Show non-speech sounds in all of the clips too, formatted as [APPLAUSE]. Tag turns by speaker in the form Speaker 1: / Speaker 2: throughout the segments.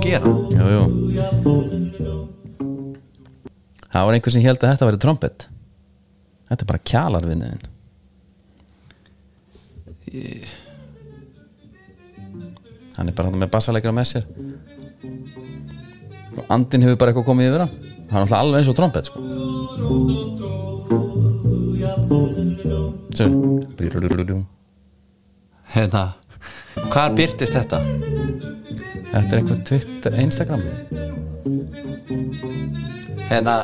Speaker 1: gera
Speaker 2: Jú, jú Það var einhver sem held að þetta væri trompet Þetta er bara kjalarvinniðin Hann er bara þarna með bassalegra með sér og andin hefur bara eitthvað komið yfir hann hann er alltaf alveg eins og trompet sko Svo
Speaker 1: hérna, hvar byrtist þetta?
Speaker 2: Þetta er eitthvað Twitter, Instagram
Speaker 1: hérna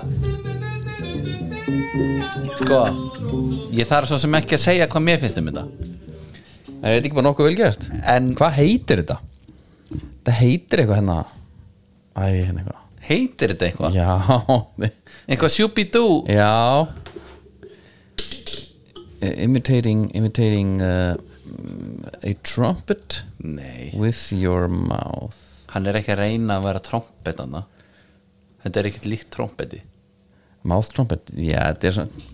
Speaker 1: sko ég þarf svo sem ekki að segja hvað mér finnst um þetta
Speaker 2: Það er þetta ekki bara nokkuð vel gert
Speaker 1: En-
Speaker 2: Hvað heitir þetta? Þetta heitir eitthvað hérna Æ, hérna eitthvað
Speaker 1: heitir þetta eitthvað?
Speaker 2: Já, [LAUGHS]
Speaker 1: eitthvað sjúbidú?
Speaker 2: já Eh, Imitating, imitating uh, a trumpet
Speaker 1: nei,
Speaker 2: with your mouth
Speaker 1: hann er ekki að reyna að vera trompet hann þetta er ekkert líkt trompeti
Speaker 2: Mouth trumpet, já, þetta er svona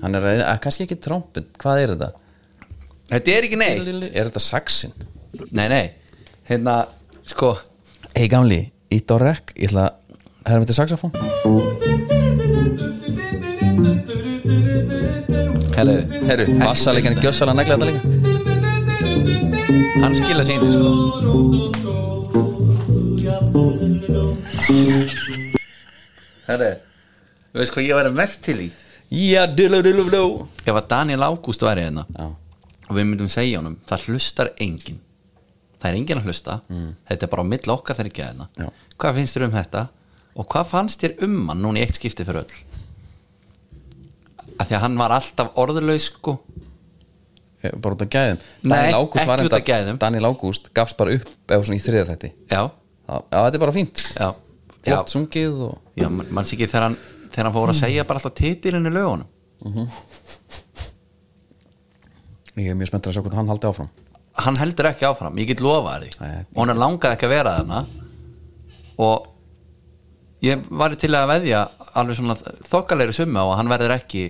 Speaker 2: Hann er að reyna, að, kannski ekki trumpet, hvað er þetta?
Speaker 1: þetta er ekki neitt
Speaker 2: Er þetta saxin?
Speaker 1: nei, nei, hérna, sko
Speaker 2: Hei gamli, ít á rekk, ég ætla að Það er þetta saxofón?
Speaker 1: herru,
Speaker 2: Herru, bassalegan gjössalega negla þetta líka
Speaker 1: hann skila sínu sko herru þú veist hvað ég var mest til í
Speaker 2: Já, dillu, dillu, dillu
Speaker 1: ef að Daniel Ágúst væri hérna
Speaker 2: Já,
Speaker 1: og við myndum segja honum það hlustar enginn það er enginn að hlusta þetta er bara á milli okkar þegar ekki að
Speaker 2: Mm. Já.
Speaker 1: hérna hvað finnst þér um þetta og hvað fannst þér um hann núna í eitt skipti fyrir öll af því að hann var alltaf orðlaus sko
Speaker 2: eh, bara út af gæðum
Speaker 1: Nei,
Speaker 2: Daniel Ágúst
Speaker 1: ekki
Speaker 2: var
Speaker 1: út af
Speaker 2: enda-
Speaker 1: gæðum.
Speaker 2: Daniel Ágúst gafst bara upp eða svona í þriða þætti
Speaker 1: já,
Speaker 2: Já, já, þetta er bara fínt
Speaker 1: já, já,
Speaker 2: Flott Mm. sungið og
Speaker 1: já man, mann sikir þegar hann þegar hann fór að segja bara alltaf titilinn í lögunum
Speaker 2: Ég er mjög spenntur að sjá hvernig hann haldi áfram
Speaker 1: hann heldur ekki áfram, ég get lofa þér því
Speaker 2: Nei.
Speaker 1: og hann langaði ekki að vera þarna og ég var til að veðja alveg svona þokkalegri summa á að hann verður ekki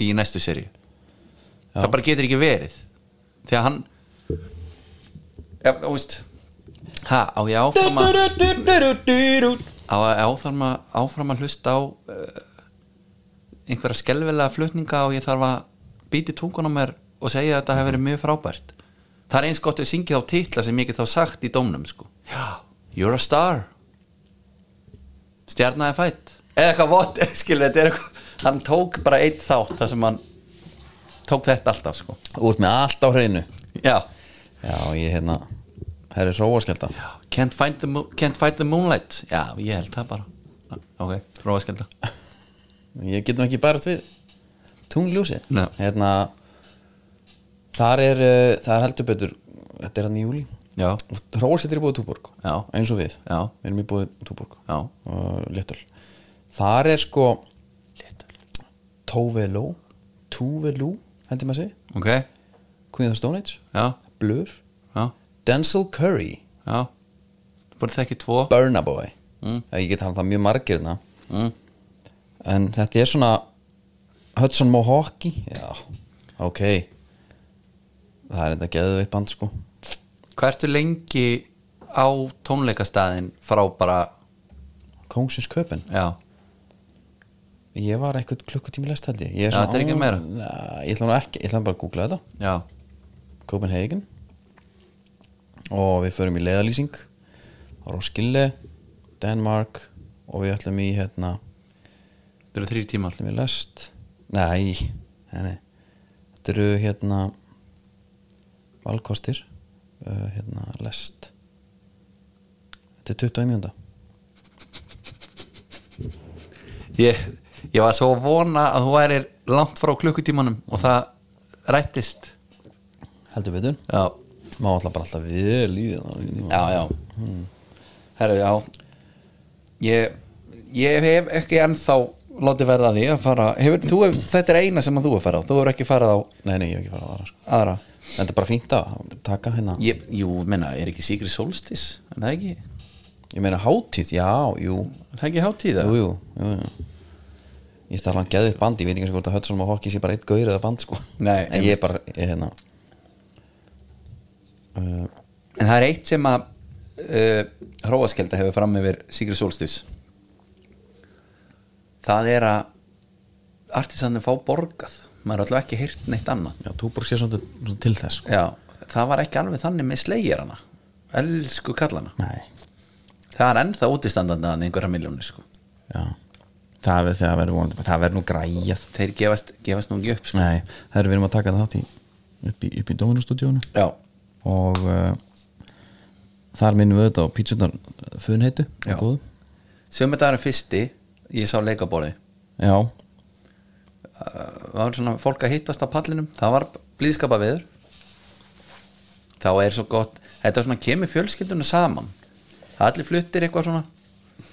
Speaker 1: í næstu seri það bara getur ekki verið því að hann ja, þú veist ha, á ég áfram að á ég áfram að, áfram að hlusta á uh, einhverja skelvilega flutninga og ég þarf að býti tungunum mér og segja að þetta hefur verið mjög frábært það er eins gott að syngja þá titla sem ég get þá sagt í dómnum sko Já, You're a star Stjarnaði fætt eða eitthvað [LAUGHS] vott, skilur þetta er eitthvað hann tók bara eitt þátt þar sem hann tók þetta alltaf sko
Speaker 2: Þú ert með allt á hreinu
Speaker 1: Já,
Speaker 2: Já, ég hérna Það er róaskjölda
Speaker 1: can't, find the mo- can't fight the moonlight Já, ég held það bara Ah, Ok, róa skilda
Speaker 2: Ég getum ekki bærast við Tungljósið
Speaker 1: Nei.
Speaker 2: Hérna Þar er, uh, það er heldur betur Þetta er hann í júli
Speaker 1: Já,
Speaker 2: Róaskjöldir er búið túborg
Speaker 1: Já.
Speaker 2: Eins og við
Speaker 1: Já.
Speaker 2: Við erum í búið túborg
Speaker 1: já,
Speaker 2: og litul þar er sko Tóveló Túvelú, hendur maður sig
Speaker 1: ok
Speaker 2: Queen of the Stone Age,
Speaker 1: Já,
Speaker 2: Blur
Speaker 1: já,
Speaker 2: Denzel Curry,
Speaker 1: já Búin þekki tvo
Speaker 2: Burna Boy ég get talað það mjög margirna
Speaker 1: mm.
Speaker 2: en þetta er svona Hudson Mohawki já, ok það er enda geðveitt band sko
Speaker 1: Hvað ertu lengi á tónleikastaðin frá bara
Speaker 2: Kongsins Köpen,
Speaker 1: Já,
Speaker 2: ég var eitthvað klukkutími lest held ég, ég
Speaker 1: Já, þetta er ekki meira.
Speaker 2: na, ég ætla nú ekki, ég ætla bara að googla þetta
Speaker 1: já,
Speaker 2: Copenhagen og við förum í leiðalýsing Roskilde Danmark og við ætlum í hérna,
Speaker 1: þetta eru þrjú tímar
Speaker 2: ætlum í lest nei, nei, nei þetta eru hérna valkostir uh, hérna lest þetta er 20 mjönda
Speaker 1: ég, ég var svo að vona að þú værir langt frá klukkutímanum og það rættist
Speaker 2: heldur betur,
Speaker 1: Já,
Speaker 2: má alltaf bara alltaf vel í það
Speaker 1: já, já Hmm. Herru, já Ég, ég hef ekki ennþá látið verða að því að fara hefur, þú hef, Þetta er eina sem að þú hef farið á Þú hefur ekki farið á
Speaker 2: nei, nei, ég hef ekki farað á aðra sko.
Speaker 1: aðra
Speaker 2: En þetta er bara fínt að taka hérna
Speaker 1: ég, Jú, menna, er ekki Sigri Solstis Er það ekki, er
Speaker 2: ég meina hátíð, já, jú
Speaker 1: það ekki hátíða?
Speaker 2: jú, jú, jú, jú. Ég starf hann geðið band, ég veit ekki eins og hvort að Hudson og Hawkins sé bara eitt gaur eða band sko
Speaker 1: Nei,
Speaker 2: En ég er bara, ég, hérna
Speaker 1: en það er eitt sem að uh, hróaskelda hefur fram yfir Sigrid Solstis það er að artisanir fá borgað maður er alltaf ekki heyrt neitt annað
Speaker 2: Já, Túborg sé svona, svona til þess sko.
Speaker 1: Já, það var ekki alveg þannig með slegjarana elsku kallana
Speaker 2: Nei
Speaker 1: það er ennþá útistandandi að einhverja miljónir sko.
Speaker 2: Já Það verður þegar verður vonandi Það verður nú græjað
Speaker 1: þeir gefast, gefast nú ekki upp sko.
Speaker 2: Nei, það er við erum að taka það þátt í upp í, upp í Dónustudjónu
Speaker 1: Já,
Speaker 2: og uh, þar minnum við auðvitað á pítsunar funheitu
Speaker 1: Já.
Speaker 2: og góðu
Speaker 1: sömudagurinn fyrsti ég sá leikaborði
Speaker 2: Já,
Speaker 1: það var svona fólk að hittast á pallinum það var blíðskapa viður þá er svo gott þetta er svona kemur fjölskyldunum saman það allir fluttir eitthvað svona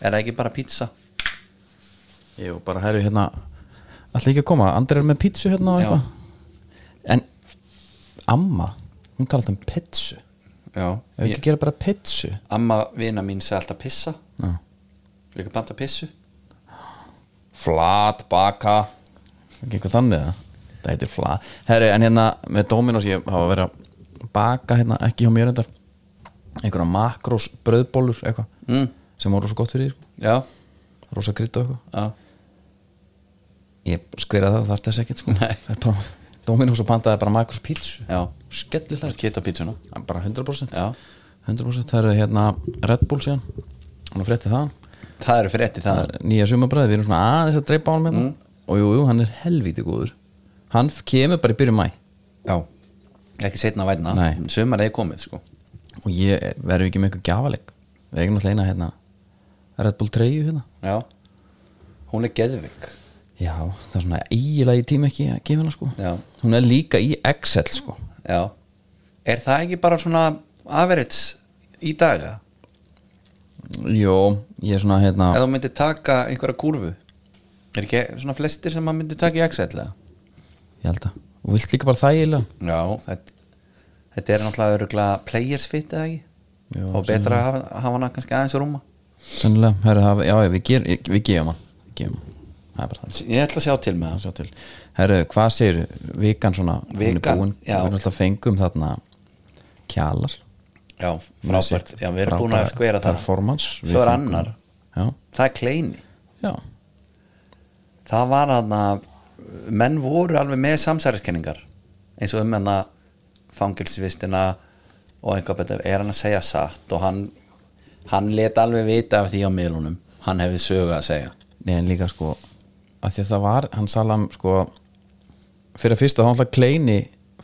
Speaker 1: er það ekki bara pizza
Speaker 2: ég var bara herri hérna Alltaf ekki að koma, Andri er með pítsu hérna og
Speaker 1: Já.
Speaker 2: eitthvað. En amma, hún talaði um pítsu
Speaker 1: já,
Speaker 2: Ef ekki
Speaker 1: ég,
Speaker 2: gera bara pítsu
Speaker 1: amma vina mín segi alltaf pissa
Speaker 2: Já.
Speaker 1: líka panta pissu
Speaker 2: Flat baka Ekki eitthvað þannig það Það heitir flat Herri, en hérna með Dominos ég hafa verið að baka hérna ekki hjá mér endar einhverja makrós brauðbólur eitthvað
Speaker 1: mm.
Speaker 2: sem voru svo gott fyrir því sko.
Speaker 1: já,
Speaker 2: rosa krydd og eitthvað
Speaker 1: já
Speaker 2: ég skverja það, þarf þess ekkert sko. Það er bara, Dominos og pantaði bara makros pítsu
Speaker 1: Já,
Speaker 2: skellilega,
Speaker 1: kýta pítsuna
Speaker 2: bara 100%
Speaker 1: Já.
Speaker 2: 100% það eru hérna Red Bull síðan hann er fréttið það
Speaker 1: Það eru frétti það
Speaker 2: Það er nýja sumabræði, við erum svona aðeins að dreipa á hann með það og jú, jú, hann er helvíti góður hann f- kemur bara í byrju mæ
Speaker 1: Já, ekki setna að væna
Speaker 2: Nei.
Speaker 1: Sumar er komið sko
Speaker 2: og ég verður ekki með eitthvað gjafaleg við eigum alltaf eina hérna Red Bull 3 hérna
Speaker 1: Já, hún er geðvik
Speaker 2: já, það er svona eiginlega í tíma ekki að gefa hana sko
Speaker 1: Já.
Speaker 2: hún er líka í Excel sko
Speaker 1: Já, er það ekki bara svona average í dag eða?
Speaker 2: Jó, ég er svona hérna
Speaker 1: Ef þú myndir taka einhverja kúrfu Er ekki svona flestir sem maður myndir taka í Excel eða?
Speaker 2: Ég held að Og vilt líka bara þægilega
Speaker 1: Já, þetta, þetta er náttúrulega örugglega players fit eða ekki
Speaker 2: Já,
Speaker 1: Og betra að hafa, hafa hana kannski aðeins rúma
Speaker 2: Sennilega, herri, það, já, já, við, ger, við gefum hann Við gefum hann Það er bara þannig
Speaker 1: Ég ætla að sjá til með
Speaker 2: að
Speaker 1: það
Speaker 2: sjá til Herru, hvað segir vikan svona Hún
Speaker 1: Vikan,
Speaker 2: er búin
Speaker 1: já.
Speaker 2: Við náttúrulega fengum þarna Kjalar
Speaker 1: Já, frábært Já, við erum búin að
Speaker 2: Frábært
Speaker 1: skvera það
Speaker 2: Performance Við
Speaker 1: Svo er
Speaker 2: fengum-
Speaker 1: annar.
Speaker 2: Já,
Speaker 1: Það er kleini
Speaker 2: já
Speaker 1: það var hann að menn voru alveg með samsæriskenningar eins og um hann að fangilsvistina og eitthvað betur er hann að segja satt og hann hann let alveg vita af því á miðlunum hann hefði sögu að segja
Speaker 2: Nei, en líka sko að Því að það var, hann salam sko Fyrir að fyrsta þá alltaf kleini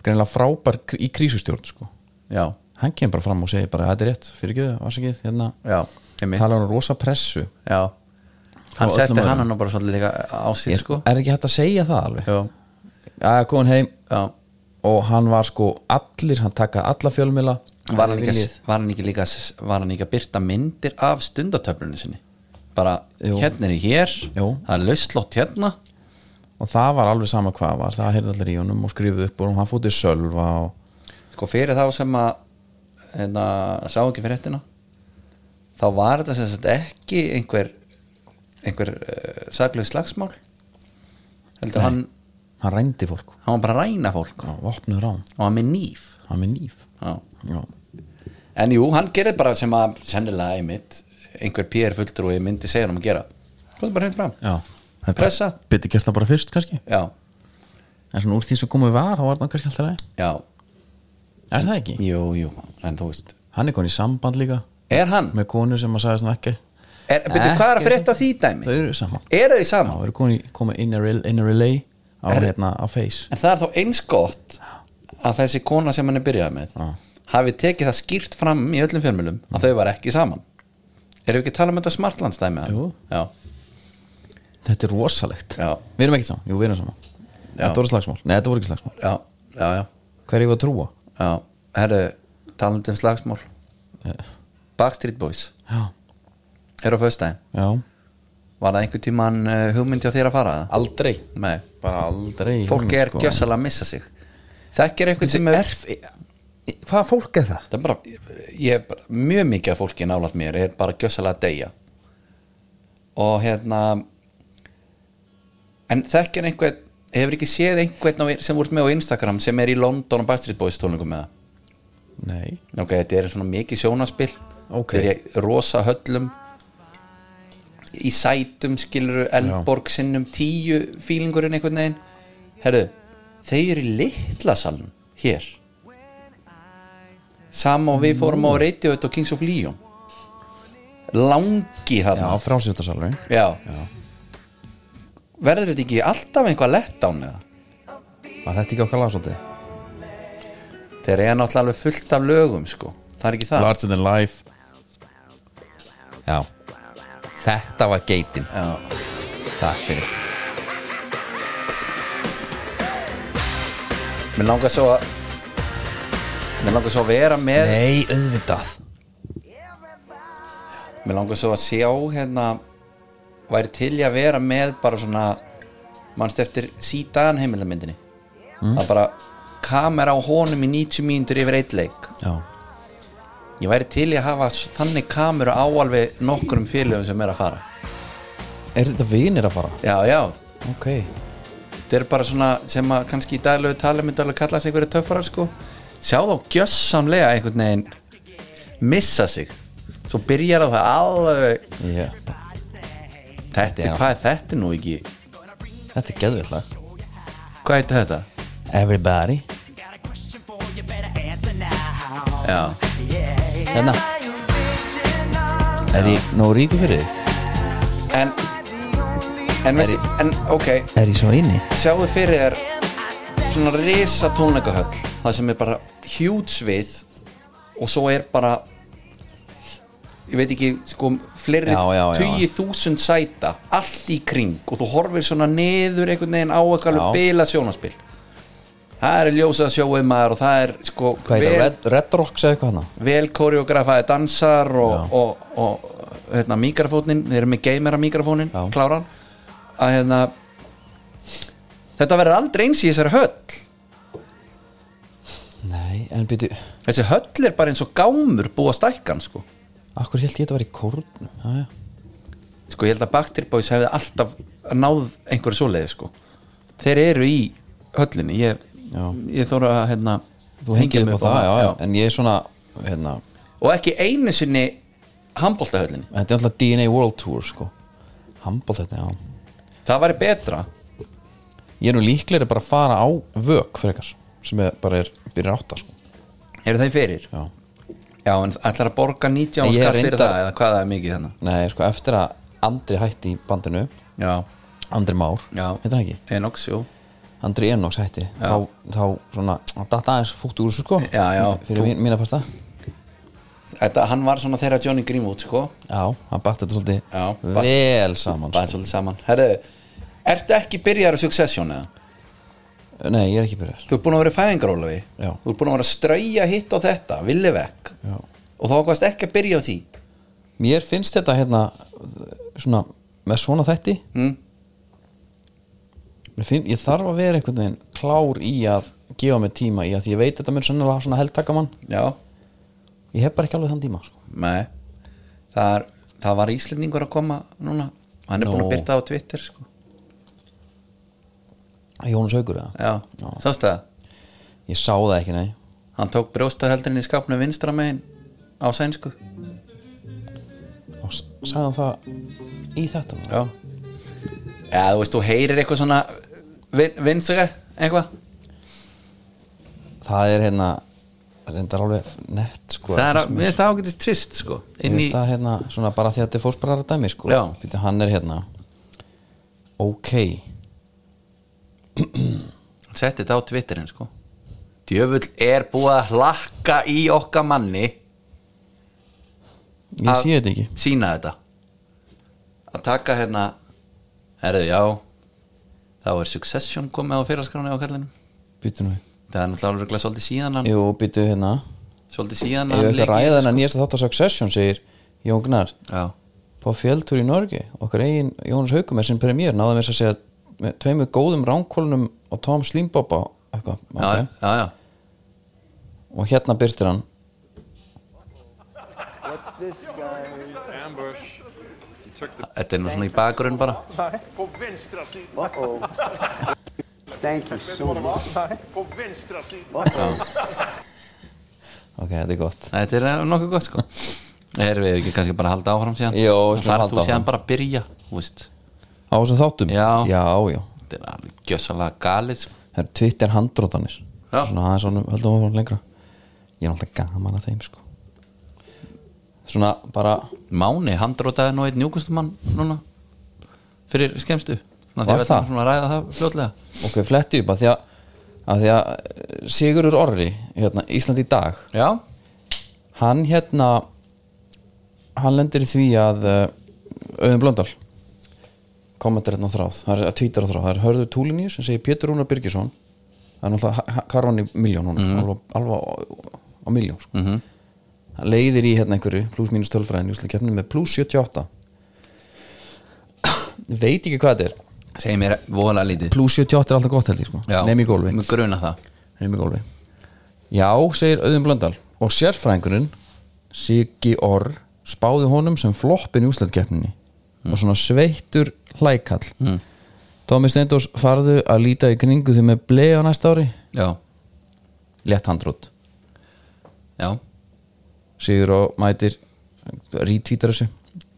Speaker 2: Greinilega frábær kr- í krísustjórn sko
Speaker 1: já,
Speaker 2: hann kemur bara fram og segir bara þetta er rétt, fyrir ekki það, vasakið hérna,
Speaker 1: já, einmitt
Speaker 2: tala hann rosa pressu
Speaker 1: já. hann
Speaker 2: Frá öllum
Speaker 1: setti
Speaker 2: öðrum.
Speaker 1: hann nú bara svolítið líka á sig
Speaker 2: er,
Speaker 1: sko
Speaker 2: er ekki hægt að segja það alveg
Speaker 1: já,
Speaker 2: að komin heim
Speaker 1: já
Speaker 2: og hann var sko allir, hann takaði alla fjölmila
Speaker 1: var hann, ekki, var hann ekki líka var hann ekki að byrta myndir af stundatöflunni sinni bara
Speaker 2: Jú.
Speaker 1: hérna er ég hér
Speaker 2: Jú.
Speaker 1: það er lauslott hérna
Speaker 2: og það var alveg sama hvað var, það heyrði allir í honum og skrifuð upp og hann fótið sölva og
Speaker 1: sko fyrir þá sem að hérna, sá ekki fyrir hettina þá var þetta sem sagt ekki einhver einhver uh, saklaug slagsmál heldur hann
Speaker 2: hann rændi fólk
Speaker 1: hann var bara að ræna fólk
Speaker 2: hann vopnuð rán,
Speaker 1: og hann með nýf
Speaker 2: hann með nýf
Speaker 1: Já.
Speaker 2: já,
Speaker 1: en jú, hann gerir bara sem að sennilega einmitt einhver PR fulltrúi myndi segja hann um að gera sko bara hreint fram
Speaker 2: já Það er bara-
Speaker 1: Pressa.
Speaker 2: Biddu gert það bara fyrst kannski
Speaker 1: já,
Speaker 2: En svona úr því sem komið var, þá var það kannski alltaf leið
Speaker 1: já,
Speaker 2: Er það ekki?
Speaker 1: jú, jú en þú veist,
Speaker 2: Hann er konið í samband líka
Speaker 1: er hann
Speaker 2: Með konu sem að sagðist hann ekki
Speaker 1: er, byrju,
Speaker 2: Ekki
Speaker 1: hvað er að frétta af því
Speaker 2: Þau
Speaker 1: dæmi?
Speaker 2: eru saman
Speaker 1: er þau
Speaker 2: Já,
Speaker 1: saman?
Speaker 2: við erum komin, komin in, a rel, in a relay á,
Speaker 1: Er-
Speaker 2: hérna, á face
Speaker 1: En það er þá eins gott að þessi kona sem hann er byrjað með
Speaker 2: Já.
Speaker 1: hafi tekið það skýrt fram í öllum fjölmjölum að þau var ekki saman Erum við ekki að tala um þetta smartlandsdæmi?
Speaker 2: Jú.
Speaker 1: Já,
Speaker 2: Þetta er rosalegt
Speaker 1: Já.
Speaker 2: Við erum ekki saman, jú við erum saman
Speaker 1: Já.
Speaker 2: Þetta voru slagsmál, nei þetta voru ekki slagsmál
Speaker 1: já, já, já,
Speaker 2: Hver ég var að trúa?
Speaker 1: já. Herru, talandi um slagsmál
Speaker 2: Eh,
Speaker 1: Backstreet Boys
Speaker 2: Já,
Speaker 1: eru á föstudaginn
Speaker 2: já
Speaker 1: Var það einhver tíman uh, hugmynd hjá þér að fara það?
Speaker 2: Aldrei
Speaker 1: Nei,
Speaker 2: Bara aldrei sko.
Speaker 1: fólk er gjössalega að missa sig Þekkir einhvern sem sko. er
Speaker 2: Erf, Hvaða fólk er það?
Speaker 1: Það er bara, ég er bara, mjög mikið af fólki nálaðt mér er bara gjössalega að deyja og hérna en þekkir einhvern hefur ekki séð einhvern á- sem voru með á Instagram sem er í London og Backstreet Boys tónleikum með það
Speaker 2: Nei
Speaker 1: ok, þetta er svona mikið sjónaspil
Speaker 2: Ok.
Speaker 1: þeir ég rosa höllum í sætum skiluru Elborg sinnum tíu fílingurinn einhvern veginn herru, þeir eru í litla salnum hér sama og við fórum á Radiohead og Kings of Leon langi hann
Speaker 2: Já, frásjóttasalurinn
Speaker 1: Já. Verður þetta ekki alltaf einhvað lett án eða?
Speaker 2: Var þetta ekki okkar lag svolítið?
Speaker 1: Þeir eru náttúrulega alveg fullt af lögum sko Það er ekki það
Speaker 2: Larger than life Já Þetta var geitin
Speaker 1: Já.
Speaker 2: Takk fyrir
Speaker 1: Mér langar svo að Mér langar svo að vera með
Speaker 2: Nei, auðvitað
Speaker 1: Mér langar svo að sjá hérna Væri til í að vera með bara svona Manst eftir síðan heimildamyndinni Það bara kamera á honum í 90 mínútur yfir eitt leik
Speaker 2: Já
Speaker 1: Ég væri til í að hafa þannig kameru á alveg nokkrum félögum sem er að fara
Speaker 2: Er þetta vinir að fara?
Speaker 1: Já, já,
Speaker 2: Ok
Speaker 1: þetta er bara svona sem að kannski í daglegu tali myndi alveg kallast einhverju töffarar sko sjá þá gjössamlega einhvern veginn missa sig svo byrjar á það alveg
Speaker 2: yeah.
Speaker 1: þetta,
Speaker 2: Já.
Speaker 1: hvað er þetta nú ekki
Speaker 2: Þetta er geðvill lag
Speaker 1: hvað heitir þetta?
Speaker 2: Everybody
Speaker 3: Got a question for you, better answer now.
Speaker 1: Já,
Speaker 3: Yeah.
Speaker 2: Hérna. Er ég nóg ríku fyrir þig?
Speaker 1: en en, vissi, en ok,
Speaker 2: Er ég svo inni?
Speaker 1: sjáðu fyrir þér svona risa tónleikahöll það sem er bara hjúts við og svo er bara ég veit ekki sko fleiri
Speaker 2: Já, já, já.
Speaker 1: tugi þúsund sæta allt í kring og þú horfir svona niður einhvern veginn á eitthvað alveg
Speaker 2: Já.
Speaker 1: bila sjónaspil það er ljósað sjóið maður og það er sko
Speaker 2: Hvað er þetta? Red, Red Rocks eða eitthvað hana?
Speaker 1: vel koreografaði dansar og,
Speaker 2: Já.
Speaker 1: og, og, hérna, mikrofónin, þeir eru með geimera mikrofónin,
Speaker 2: Já.
Speaker 1: kláran að hérna þetta verður aldrei eins í þessari höll
Speaker 2: Nei, en býtu
Speaker 1: þessi höll er bara eins og gámur búa stækkan sko,
Speaker 2: Akkur held ég þetta var í kórn Já, já
Speaker 1: sko ég held að Baktirbóis hefði alltaf náð einhverju svoleiði sko, þeir eru í höllinni, ég,
Speaker 2: Já.
Speaker 1: ég þóra að hérna
Speaker 2: Þú hengið upp á það, já, já En ég er svona, hérna
Speaker 1: og ekki einu sinni handbóltahöllinni
Speaker 2: Þetta er alltaf DNA World Tour, sko Hambol þetta, já
Speaker 1: það væri betra
Speaker 2: Ég er nú líklega bara að fara á vök frekar Sem er, bara er byrjar átta, sko
Speaker 1: eru það í fyrir?
Speaker 2: Já
Speaker 1: Já, en ætlar að borga 19
Speaker 2: Ég er
Speaker 1: skall fyrir
Speaker 2: reyndar-
Speaker 1: það eða hvað það er mikið hérna? þannig
Speaker 2: Nei, sko, eftir að Andri hætti í bandinu
Speaker 1: Já,
Speaker 2: Andri Már,
Speaker 1: já
Speaker 2: heitir hann ekki
Speaker 1: Enox, jú
Speaker 2: Andri Enox hætti þá, þá svona, hann datt aðeins fútt úr þessu sko
Speaker 1: Já, já,
Speaker 2: fyrir
Speaker 1: þú-
Speaker 2: mín, mína parta
Speaker 1: Þetta, hann var svona þeirra Johnny Greenwood, sko
Speaker 2: Já, hann batt þetta svolítið
Speaker 1: Já, batt-
Speaker 2: vel saman
Speaker 1: Bara
Speaker 2: sko.
Speaker 1: svolítið saman Herðu, ertu ekki byrjar á Succession eða?
Speaker 2: Nei, ég er ekki byrjar
Speaker 1: Þú ert búin að vera í fæðingarólafi
Speaker 2: Já.
Speaker 1: Þú ert búin að vera að strauja hitt á þetta, villi vekk
Speaker 2: Já.
Speaker 1: Og þá ákvæmst ekki að byrja á því
Speaker 2: Mér finnst þetta hérna svona, með svona þætti
Speaker 1: Mm.
Speaker 2: Mér finn, ég þarf að vera einhvern veginn klár í að gefa mig tíma í að því ég veit þetta mun sannlega svona heldtakamann
Speaker 1: Já,
Speaker 2: ég hef bara ekki alveg þann tíma sko.
Speaker 1: nei Það, er, það var Íslendingur að koma núna Hann er
Speaker 2: Nú.
Speaker 1: búin að byrta á Twitter, sko
Speaker 2: Jónus Haugur eða?
Speaker 1: Já, sástu það?
Speaker 2: Ég sá það ekki, nei
Speaker 1: Hann tók brjóstaheldurinn í skapnu vinstra megin á sænsku
Speaker 2: og s- sagði hann það í þetta
Speaker 1: Já Já, þú veist, þú heyrir eitthvað svona vin, vinstra, eitthvað
Speaker 2: það er hérna reyndar alveg nett sko
Speaker 1: Það er, að-
Speaker 2: sem
Speaker 1: mér finnst það ágætist tvist, sko
Speaker 2: Mér
Speaker 1: inn í,
Speaker 2: finnst það hérna svona bara því að þetta er fósparara dæmi sko
Speaker 1: Já.
Speaker 2: Býtu, hann er hérna ok
Speaker 1: setti þetta á Twitterin, sko Djöfull er búið að hlakka í okkar manni
Speaker 2: ég
Speaker 1: Að-
Speaker 2: sé þetta ekki
Speaker 1: sína þetta að taka hérna herðu, já þá er Succession komið á fyrirskráni á kallinu
Speaker 2: býtu nú við.
Speaker 1: það er náttúrulega alveg örugglega svolítið síðan hann sko.
Speaker 2: jú býtu hérna
Speaker 1: svolítið síðan
Speaker 2: ef
Speaker 1: hann
Speaker 2: ekki
Speaker 1: leikið
Speaker 2: að ræða hennar nýjasta þátt á Succession segir Jón Gnar
Speaker 1: Já,
Speaker 2: på fjöldtur í Norge okkar eigin Jónas Haukum er sinn premjör náða mér að segja með tveimur góðum ránkólunum og Tom Slimbobba eitthvað
Speaker 1: já,
Speaker 2: ok.
Speaker 1: já, já
Speaker 2: og hérna byrtir hann
Speaker 4: What's this guy?
Speaker 5: Ambush. You took the
Speaker 1: Þetta er nú svona í bakgrunn bara
Speaker 5: på vänstra sidan.
Speaker 4: Uh-oh. Thank you so much.
Speaker 5: På vänstra sidan.
Speaker 2: ok, þetta er gott
Speaker 1: Þetta er eh, nokkuð gott sko erum við ekki kannski bara að halda áfram síðan
Speaker 2: Jó, við
Speaker 1: og
Speaker 2: skulum
Speaker 1: þar
Speaker 2: halda
Speaker 1: þú síðan
Speaker 2: áfram.
Speaker 1: bara að byrja þú veist.
Speaker 2: á þessum þáttum
Speaker 1: Já.
Speaker 2: já, já.
Speaker 1: þetta er alveg gjössalega galið sko.
Speaker 2: það eru Twitter handrótanir
Speaker 1: Já.
Speaker 2: svona aðeins svona höldum áfram lengra ég er alltaf gaman að þeim sko svona bara
Speaker 1: Máni, hann drótaði nú eitt njúkustumann núna fyrir skemmstu Ná,
Speaker 2: Var
Speaker 1: því að
Speaker 2: það?
Speaker 1: það svona að ræða það fljótlega
Speaker 2: ok, fletti upp að því að, að, því að Sigurur Orri hérna, Ísland í dag
Speaker 1: já,
Speaker 2: hann hérna hann lendir í því að uh, Auðun Blöndal kommentar hérna á þráð, það er að tvítar á þráð það er Hörður Túliníus sem segir Pétur Rúnar Birgisson það er náttúrulega karvan í miljón núna, alveg, alveg á, á miljón sko. hann leiðir í hérna einhverju pluss mínus tölfræðin í úsleikefni með pluss 78 veit ekki hvað þetta er
Speaker 1: segi mér voðalega lítið
Speaker 2: pluss 78 er alltaf gott held ég sko,
Speaker 1: Já.
Speaker 2: nefn í gólfi
Speaker 1: Mig grunar það
Speaker 2: Heimi Gólfi Já, segir Auðun Blöndal og sérfræðingurinn Siggi Orr spáði honum sem floppin í úsleitkeppninni og svona sveittur hlækall mm. Tómi Steindós farðu að líta í kringu því með blei á næsta ári
Speaker 1: já,
Speaker 2: létt handrútt
Speaker 1: já,
Speaker 2: Sigur og mætir rítvítar þessu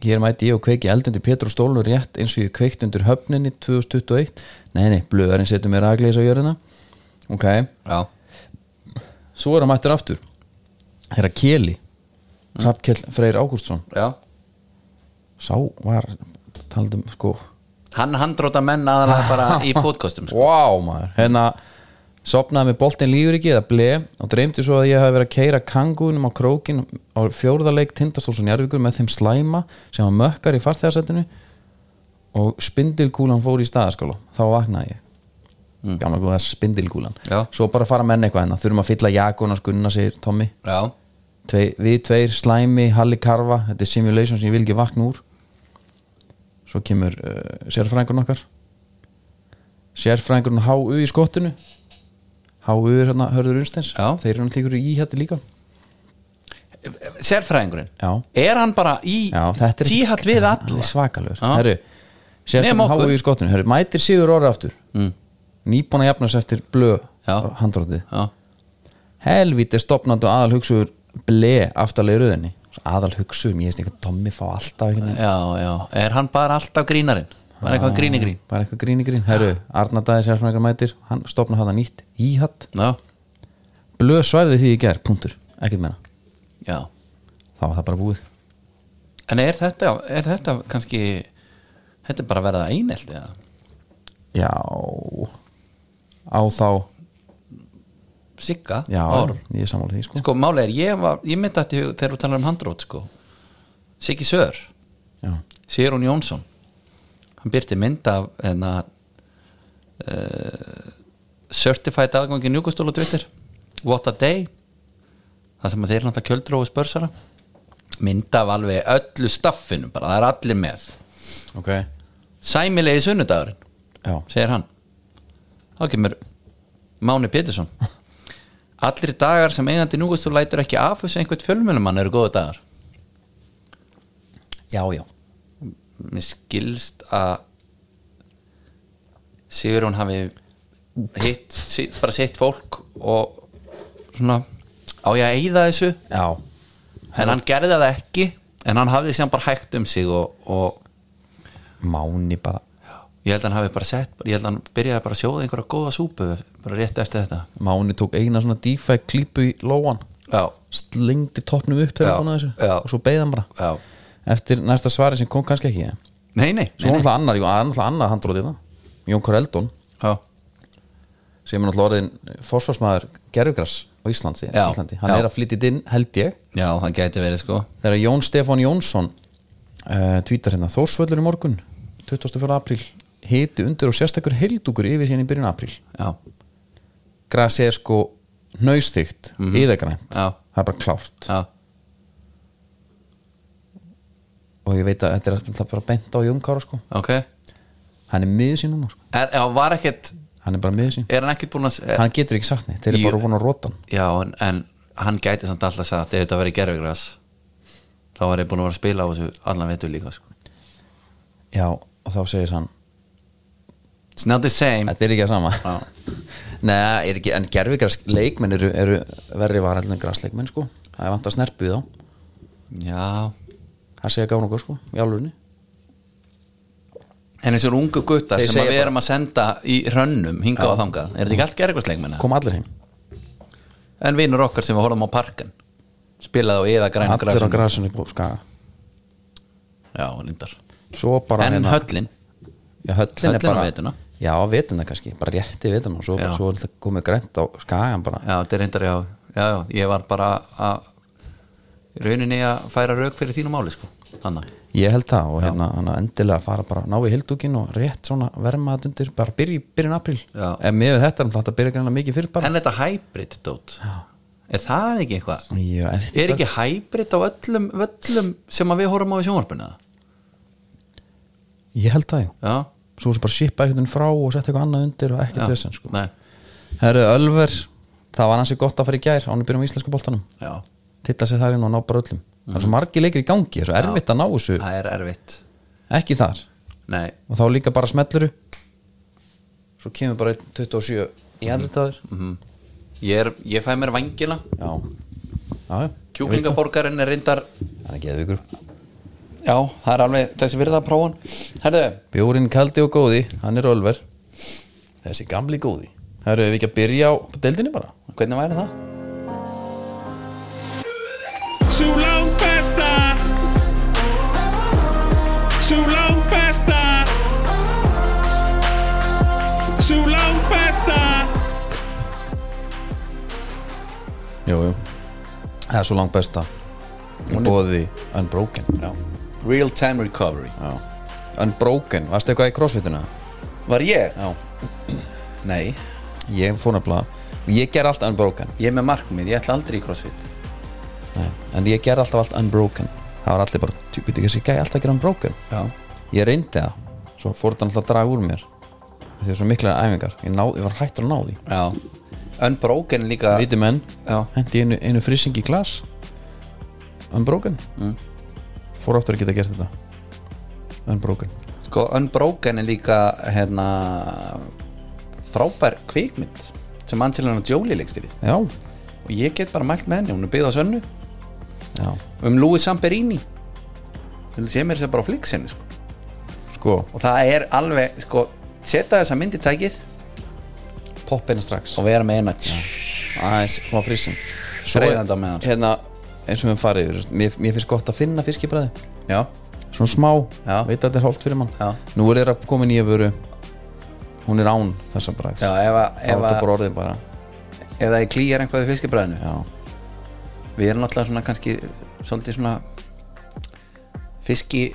Speaker 2: Hér mæti ég og kveiki eldundir Pétur og Stólnu rétt eins og ég kveikt undir höfninni 2021 Nei, nei, blöðarinn setur mér ragleis á jörðina Ok,
Speaker 1: já,
Speaker 2: svo er hann mættur aftur þeirra Keli Hrafkell Freyr Ágústsson
Speaker 1: já.
Speaker 2: sá var taldum sko
Speaker 1: hann handróta menn aðalega bara
Speaker 2: [LAUGHS]
Speaker 1: í podcastum sko.
Speaker 2: wow maður hérna sopnaði með boltinn lífur ekki eða ble og dreymdi svo að ég hafi verið að keira kangunum á krókin á fjórðarleik tindastólsson Jarvíkur með þeim slæma sem hann mökkar í farþegarsettinu og spindilkúlan fór í staðaskóla þá vaknaði ég mm. gamla góða spindilkúlan
Speaker 1: Já.
Speaker 2: svo bara fara menn eitthvað hérna þurfum að fylla jakun og skunna segir Tommy
Speaker 1: já,
Speaker 2: Tvei, við tveir, Slæmi, Halli Karfa þetta er simulation sem ég vil ekki vakna úr svo kemur uh, sérfrængurinn okkar sérfrængurinn HU í skottinu HU er hérna Hörður Unsteins
Speaker 1: Já.
Speaker 2: þeir eru náttúrulega í hérna líka
Speaker 1: sérfræðingurinn
Speaker 2: Já.
Speaker 1: er hann bara í
Speaker 2: Já, þetta er
Speaker 1: tíhall við alla
Speaker 2: Alveg svakalur
Speaker 1: Já.
Speaker 2: Herru,
Speaker 1: Nema
Speaker 2: sérfrængurinn
Speaker 1: okkur.
Speaker 2: HU í skottinu Herru, mætir Sigur Orra aftur mm. nýbúin að jafnast eftir blö
Speaker 1: Já.
Speaker 2: handrótið
Speaker 1: já,
Speaker 2: helvítið stopnandi og aðal hugsuður ble aftalegi röðinni aðal hugsuðum, ég veist eitthvað Tommy fá alltaf einhvern veginn
Speaker 1: já, já, er hann bara alltaf grínarinn hann er eitthvað gríni grín
Speaker 2: bara eitthvað grín í grín herru, Arnardæði sérfræðingar mætir hann stopna hann nýtt íhatt
Speaker 1: já,
Speaker 2: blöð svæfði því í ger, punktur, ekkert meina
Speaker 1: já
Speaker 2: þá var það bara búið
Speaker 1: en er þetta, er þetta kannski þetta er bara að verða einelt eða?
Speaker 2: já á þá,
Speaker 1: sigga,
Speaker 2: já,
Speaker 1: orm
Speaker 2: ég er sammála því sko.
Speaker 1: sko máli er, ég, var, ég myndi þetta þegar þú talar um handrót sko Siggi Sör,
Speaker 2: já,
Speaker 1: Sérún Jónsson hann byrti mynd af enna uh, certified aðgangi njúkustóla Twitter, what a day það sem að þeir náttúrulega kjöldrófi spörsara mynd af alveg öllu staffinu bara, það er allir með
Speaker 2: ok
Speaker 1: sæmilegi sunnudagurinn
Speaker 2: já,
Speaker 1: segir hann þá kemur Máni Pétursson allir dagar sem eigandi núgustur lætur ekki af þessu einhvern fjölmjölumann eru góðu dagar
Speaker 2: já, já,
Speaker 1: mér skilst að Sigurún hafi hitt, sí- bara sitt fólk og svona á ég að eyða þessu
Speaker 2: já.
Speaker 1: en hann gerði það ekki en hann hafði síðan bara hægt um sig og, og
Speaker 2: máni bara
Speaker 1: ég held að hann hafi bara sett ég held að hann byrjaði bara að sjóða einhverja góða súpu bara rétt eftir þetta
Speaker 2: máni tók eina svona dífæ klípu í lóan
Speaker 1: já,
Speaker 2: slengdi toppnum upp þegar
Speaker 1: Já,
Speaker 2: hann að þessu
Speaker 1: já.
Speaker 2: og svo beigði hann bara
Speaker 1: já
Speaker 2: eftir næsta svari sem kom kannski ekki ja.
Speaker 1: Nei, nei,
Speaker 2: svo
Speaker 1: nei,
Speaker 2: var
Speaker 1: nei.
Speaker 2: náttúrulega annar, jú, náttúrulega annar handrótið það Jón Koreldón
Speaker 1: Já,
Speaker 2: sem er náttúrulega orðin fórsvarsmaður gerfugras á Íslandi,
Speaker 1: Já,
Speaker 2: Íslandi. hann
Speaker 1: já.
Speaker 2: er að flytja inn held ég
Speaker 1: já, það gæti verið sko
Speaker 2: þegar Jón Stefán Jónsson uh, tvítar hérna Þórsvöllur í morgun 24. apríl hiti undir og sérstakur heildugur yfir síðan í byrjun apríl
Speaker 1: Já,
Speaker 2: grasið er sko nöystíkt mm yðagrænt,
Speaker 1: Mhm. Já.
Speaker 2: það er bara klárt
Speaker 1: já,
Speaker 2: og ég veit að þetta er alltaf bara bent á Jón Kára sko
Speaker 1: ok
Speaker 2: hann er miður sín núna sko,
Speaker 1: Er, já, var ekkert,
Speaker 2: hann er bara miður sín
Speaker 1: er hann ekkert búin að er,
Speaker 2: hann getur ekki sagt neitt, þeir eru
Speaker 1: Jú.
Speaker 2: bara búin að róta hann
Speaker 1: Já, en, en hann gæti samt alltaf sagt ef þetta verið gerfigræs þá var ég búin að vera að spila á þessu allan vetur líka sko.
Speaker 2: já, og þá segir hann
Speaker 1: It's not the same
Speaker 2: Þetta er ekki að sama
Speaker 1: Já.
Speaker 2: [LAUGHS] Nei, er ekki, en gerfigras leikmenn eru, eru verri varaldin en grasleikmenn sko Það er vant að snerpu þá
Speaker 1: já
Speaker 2: hann segja gána okkur sko, í alvörunni
Speaker 1: en þessir ungu guttar
Speaker 2: Þeir
Speaker 1: sem að
Speaker 2: segja
Speaker 1: við
Speaker 2: bara-
Speaker 1: erum að senda í hrönnum hingað og þangað, er þetta ekki allt gerðvæsleikmenna
Speaker 2: kom allir heim,
Speaker 1: en vinur okkar sem við horfum á parkan spilaði á eða græn
Speaker 2: allir á grasinu sko, skaga
Speaker 1: já, lindar
Speaker 2: svo bara
Speaker 1: en
Speaker 2: hérna-
Speaker 1: höllin,
Speaker 2: já, höllin,
Speaker 1: höllin
Speaker 2: er bara
Speaker 1: á vetuna.
Speaker 2: já, vetuna kannski, bara rétti vetuna og svo,
Speaker 1: Já.
Speaker 2: svo er þetta komið grænt á skagan bara
Speaker 1: já, þetta er reyndar já, já, já, ég var bara að í rauninni að færa rauk fyrir þínu máli sko, þannig
Speaker 2: ég held það og hérna hann að endilega fara bara ná í hildúkin og rétt svona verma þetta undir bara byrja í byrjun apríl
Speaker 1: Já.
Speaker 2: en með þetta er þetta byrja grann mikið fyrir bara
Speaker 1: en þetta hybrid dót er það ekki eitthvað
Speaker 2: Já, er,
Speaker 1: er ekki hybrid á öllum völlum sem að við horfum á í sjónvarpinu eða?
Speaker 2: ég held það já
Speaker 1: já,
Speaker 2: svo sem bara shipa eitthvað frá og setja eitthvað annað undir og ekkert
Speaker 1: já,
Speaker 2: þessan sko
Speaker 1: nei,
Speaker 2: herru Ölver það var hansi gott að fara í gær ánum byrjum á íslensku boltanum
Speaker 1: já
Speaker 2: tilla sig þar inn og ná bara öllum það er svo margir leikir í gangi það er svo erfitt að ná þessu
Speaker 1: það er erfitt
Speaker 2: ekki þar
Speaker 1: nei,
Speaker 2: og þá líka bara smelluru svo kemur bara einn 27 í andlitaður mm
Speaker 1: ég, er, ég fæ mér vangina
Speaker 2: já já já
Speaker 1: kjúklingaborgarinn er reyndar
Speaker 2: það er geðvikur
Speaker 1: já, það er alveg þessi virða að prófa herðu,
Speaker 2: Bjórin kaldi og góði, hann er Ölver Þessi gamli góði Herru, ef við ekki að byrja á deildinni bara
Speaker 1: hvernig væri það?
Speaker 6: Sú lang besta Sú lang besta Sú lang besta
Speaker 2: Jú, jú Það er svo langt besta Í bóði Unbroken Já,
Speaker 1: real time recovery
Speaker 2: já Unbroken, varstu eitthvað í crossfituna?
Speaker 1: var ég?
Speaker 2: Já
Speaker 1: nei,
Speaker 2: Ég fór nefnilega og Ég ger allt Unbroken
Speaker 1: ég er með markmið, ég ætla aldrei í crossfit
Speaker 2: Nei. En ég ger alltaf allt Unbroken Það var allir bara, "Þú byrju þessi gæði alltaf að gera Unbroken
Speaker 1: já,
Speaker 2: Ég reyndi það Svo fór þetta alltaf að draga úr mér Því að svo miklar æfingar Ég, ná, ég var hættur að ná því
Speaker 1: já unbroken líka
Speaker 2: Viti menn
Speaker 1: já,
Speaker 2: hendi einu, einu frissing í glas unbroken fór áttur að geta gert þetta unbroken
Speaker 1: sko unbroken er líka hérna frábær kvikmynd sem Angelina Jolie leikst í við
Speaker 2: já,
Speaker 1: og ég get bara mælt með henni, hún er byggð á sönnu
Speaker 2: já,
Speaker 1: um Louis Samperini þú sé mér þess að bara á fliksinu sko.
Speaker 2: sko
Speaker 1: og það er alveg sko, setja þessa mynd í tækið
Speaker 2: popp einu strax
Speaker 1: og vera með eina
Speaker 2: aðeins smá frissing
Speaker 1: Dreifandi á meðan, sko.
Speaker 2: hérna, eins og við höfum farið yfir, mér, mér finnst gott að finna fiskibræði
Speaker 1: já,
Speaker 2: svona smá,
Speaker 1: Já.
Speaker 2: veit að þetta er holdt fyrir mann
Speaker 1: Já.
Speaker 2: nú er þeirra komin í að veru hún er án þessa bræðs
Speaker 1: já ef, að,
Speaker 2: þá er
Speaker 1: ef,
Speaker 2: þetta
Speaker 1: að,
Speaker 2: bara orðið bara
Speaker 1: ef það er klýjar einhvað í fiskibræðinu
Speaker 2: já,
Speaker 1: við erum náttúrulega svona kannski svolítið svona fiski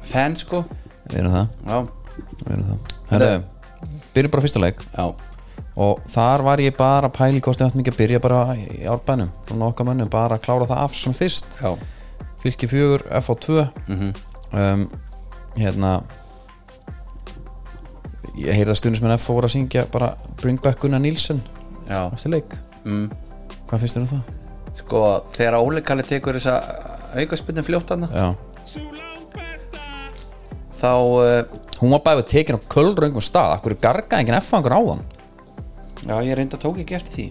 Speaker 1: fan sko
Speaker 2: við erum það,
Speaker 1: já,
Speaker 2: við erum það. Herðu, byrjum bara fyrsta leik
Speaker 1: já,
Speaker 2: og þar var ég bara að pæli hvort ég ætti mikið að byrja bara í árbænum frá nokkað mönnum, bara að klára það af svona fyrst
Speaker 1: já
Speaker 2: fylki fjögur, FH2 um, hérna ég heyrði að stundum sem en FH voru að syngja bara Bring Back Gunnar Nílsen
Speaker 1: Já,
Speaker 2: eftir leik
Speaker 1: Mm.
Speaker 2: hvað finnst þér um það?
Speaker 1: sko þegar Óli Kalli tekur þessa aukaspunni fljóttanna
Speaker 2: Já.
Speaker 6: Sú lang besta
Speaker 1: þá uh,
Speaker 2: hún var bæðið tekin á kölröngum stað akkur garga enginn FH einhver á hann
Speaker 1: já ég reynda tók ekki eftir því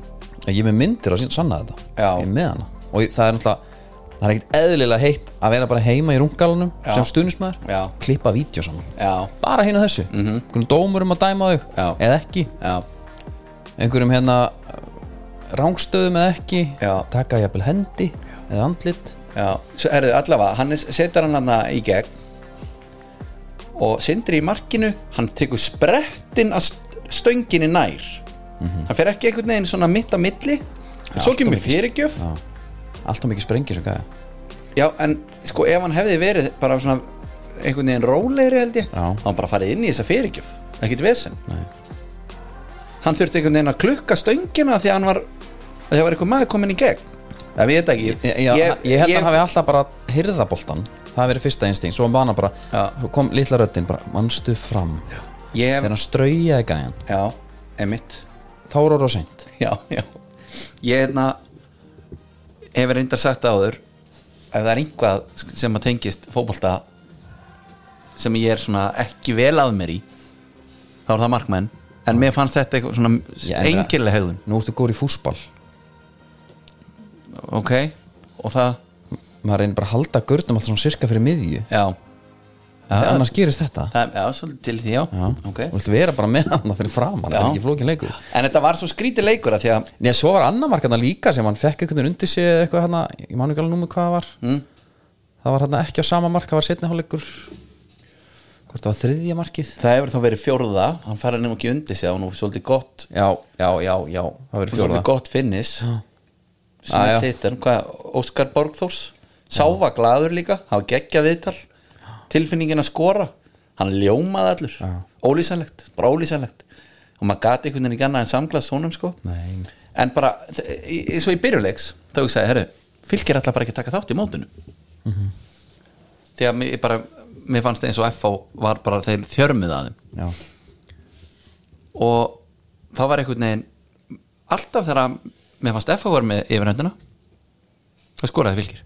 Speaker 2: ég er með myndir að sanna þetta
Speaker 1: Já.
Speaker 2: ég er með hana og ég- það er náttúrulega það er ekkert eðlilega heitt að vera bara heima í rungalanum
Speaker 1: Já.
Speaker 2: sem stundismæður
Speaker 1: Já.
Speaker 2: klippa vídeo saman
Speaker 1: já,
Speaker 2: bara hérna þessu mm einhverjum dómurum að dæma þig
Speaker 1: Já.
Speaker 2: eða ekki,
Speaker 1: já,
Speaker 2: einhverjum hérna rángstöðum eða ekki
Speaker 1: Já.
Speaker 2: taka jafnvel hendi eða andlit
Speaker 1: já svo erðu allavega, Hannes setar hann hann í gegn og sindri í markinu hann tekur sprettin að st- stönginni nær hann fer ekki einhvern veginn svona mitt á milli svo
Speaker 2: allt of
Speaker 1: kemur
Speaker 2: mikið-
Speaker 1: fyrirgjöf
Speaker 2: Já. allt og mikið um sprengi sem gæði
Speaker 1: Já, en sko ef hann hefði verið bara svona einhvern veginn rólegri held ég
Speaker 2: Já.
Speaker 1: þá hann bara farið inn í þessa fyrirgjöf ekkert vesen Nei. hann þurfti einhvern veginn að klukka stöngina því að hann var að það var einhver maður komin í gegn það veit ekki
Speaker 2: ég, ég, ég, held að hann hafi alltaf bara hyrðaboltan það hafi verið fyrsta einsting, svo var hann bara
Speaker 1: Já.
Speaker 2: svo kom litla röddin bara, mannstu fram
Speaker 1: ég hef,
Speaker 2: þegar hann straujaði gæðan
Speaker 1: já, emitt
Speaker 2: þá er orða seint
Speaker 1: já, já ég hefna hef reyndar sagt það áður ef það er einhvað sem að tengist fótbolta sem ég er svona ekki vel að mér í þá er það markmenn en mér fannst þetta eitthvað svona
Speaker 2: en-
Speaker 1: engilega hegðun
Speaker 2: nú ertu góður í fúsbal
Speaker 1: ok, og það
Speaker 2: maður reynir bara að halda gurnum allt svona sirka fyrir miðju
Speaker 1: Já,
Speaker 2: Þegar annars gerist þetta
Speaker 1: það, já svolítið til því, já,
Speaker 2: Já.
Speaker 1: ok
Speaker 2: Þú vilt vera bara með hann fyrir framan Það
Speaker 1: Já.
Speaker 2: er ekki flókin leikur
Speaker 1: En þetta var svo skrítið leikur að því að
Speaker 2: Nei, svo var annar markarna líka sem hann fekk einhvern veginn undir sig eða eitthvað hann Ég man ekki alveg númur hvað það var mm. Það var hann ekki á sama mark Það var setni hálfleikur Hvort það var þriðja markið
Speaker 1: það hefur þá verið fjórða Hann færa nefnum ekki undir sig, það var nú svolítið gott
Speaker 2: Já, já, já, já Það verið
Speaker 1: Svolítið
Speaker 2: fjórða
Speaker 1: gott finnis
Speaker 2: Já, já.
Speaker 1: Sem þetta er, hvað, Óskar Borgþórs Sá var glaður líka, hafa geggja viðtal Tilfinningin að skora Hann ljómaði allur, ólýsanlegt Bara ólýsanlegt Og maður gati einhvern veginn ekki annað en samglast honum sko
Speaker 2: Nei.
Speaker 1: En bara, þ- í- í- svo í byrjuleiks Þá ég sagði, herru, fylgir alltaf bara ekki að taka þátt í mótinu Því að mér, bara, mér fannst eins og FH var bara þeir þjörmið að þeim
Speaker 2: Já,
Speaker 1: og það var einhvern veginn alltaf þegar að mér fannst FH var með yfirhöndina það skoraði fylgir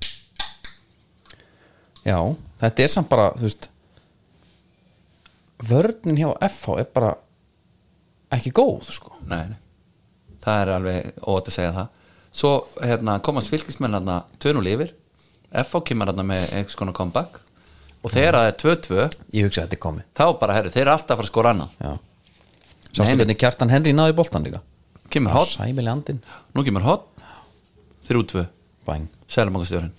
Speaker 2: já Þetta er samt bara, þú veist Vörnin hjá FH er bara ekki góð, sko
Speaker 1: nei, nei. það er alveg ótt að segja það svo hérna, komast fylgismenn hérna 2-0 yfir FH kemur hérna með einhvers konar comeback og þegar það er 2-2
Speaker 2: Ég hugsa að þetta er komið
Speaker 1: þá bara, herru, þeir eru alltaf að fara að skora annað
Speaker 2: Já
Speaker 1: Nei,
Speaker 2: Sástu
Speaker 1: nei.
Speaker 2: hvernig Kjartan Henry náði boltan líka
Speaker 1: kemur hot,
Speaker 2: Sæmili andin
Speaker 1: nú kemur hot 3-2,
Speaker 2: Bang
Speaker 1: sælumangastjórin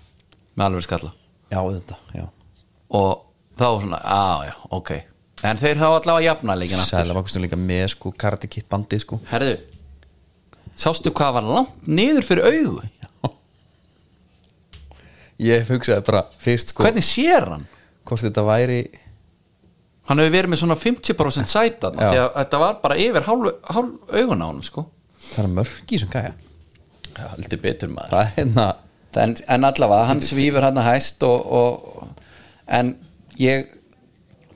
Speaker 1: með alveg skalla
Speaker 2: Já, þetta, já
Speaker 1: og þá svona, á já, ok en þeir þá allavega jafna leikin aftur
Speaker 2: Sælabakustur líka með sko Karate Kid bandið sko
Speaker 1: Herðu Sástu hvað var langt niður fyrir augu
Speaker 2: Ég hugsaði bara fyrst sko
Speaker 1: Hvernig sér hann?
Speaker 2: Hvort þetta væri
Speaker 1: Hann hefur verið með svona 50% sæta
Speaker 2: Já.
Speaker 1: Því að þetta var bara yfir hálf, hálf augun á hann sko.
Speaker 2: Það er mörg í sem gæja
Speaker 1: Haldi betur maður
Speaker 2: Það er hérna
Speaker 1: En, en allavega, hann svífur hann að hæst og, og En ég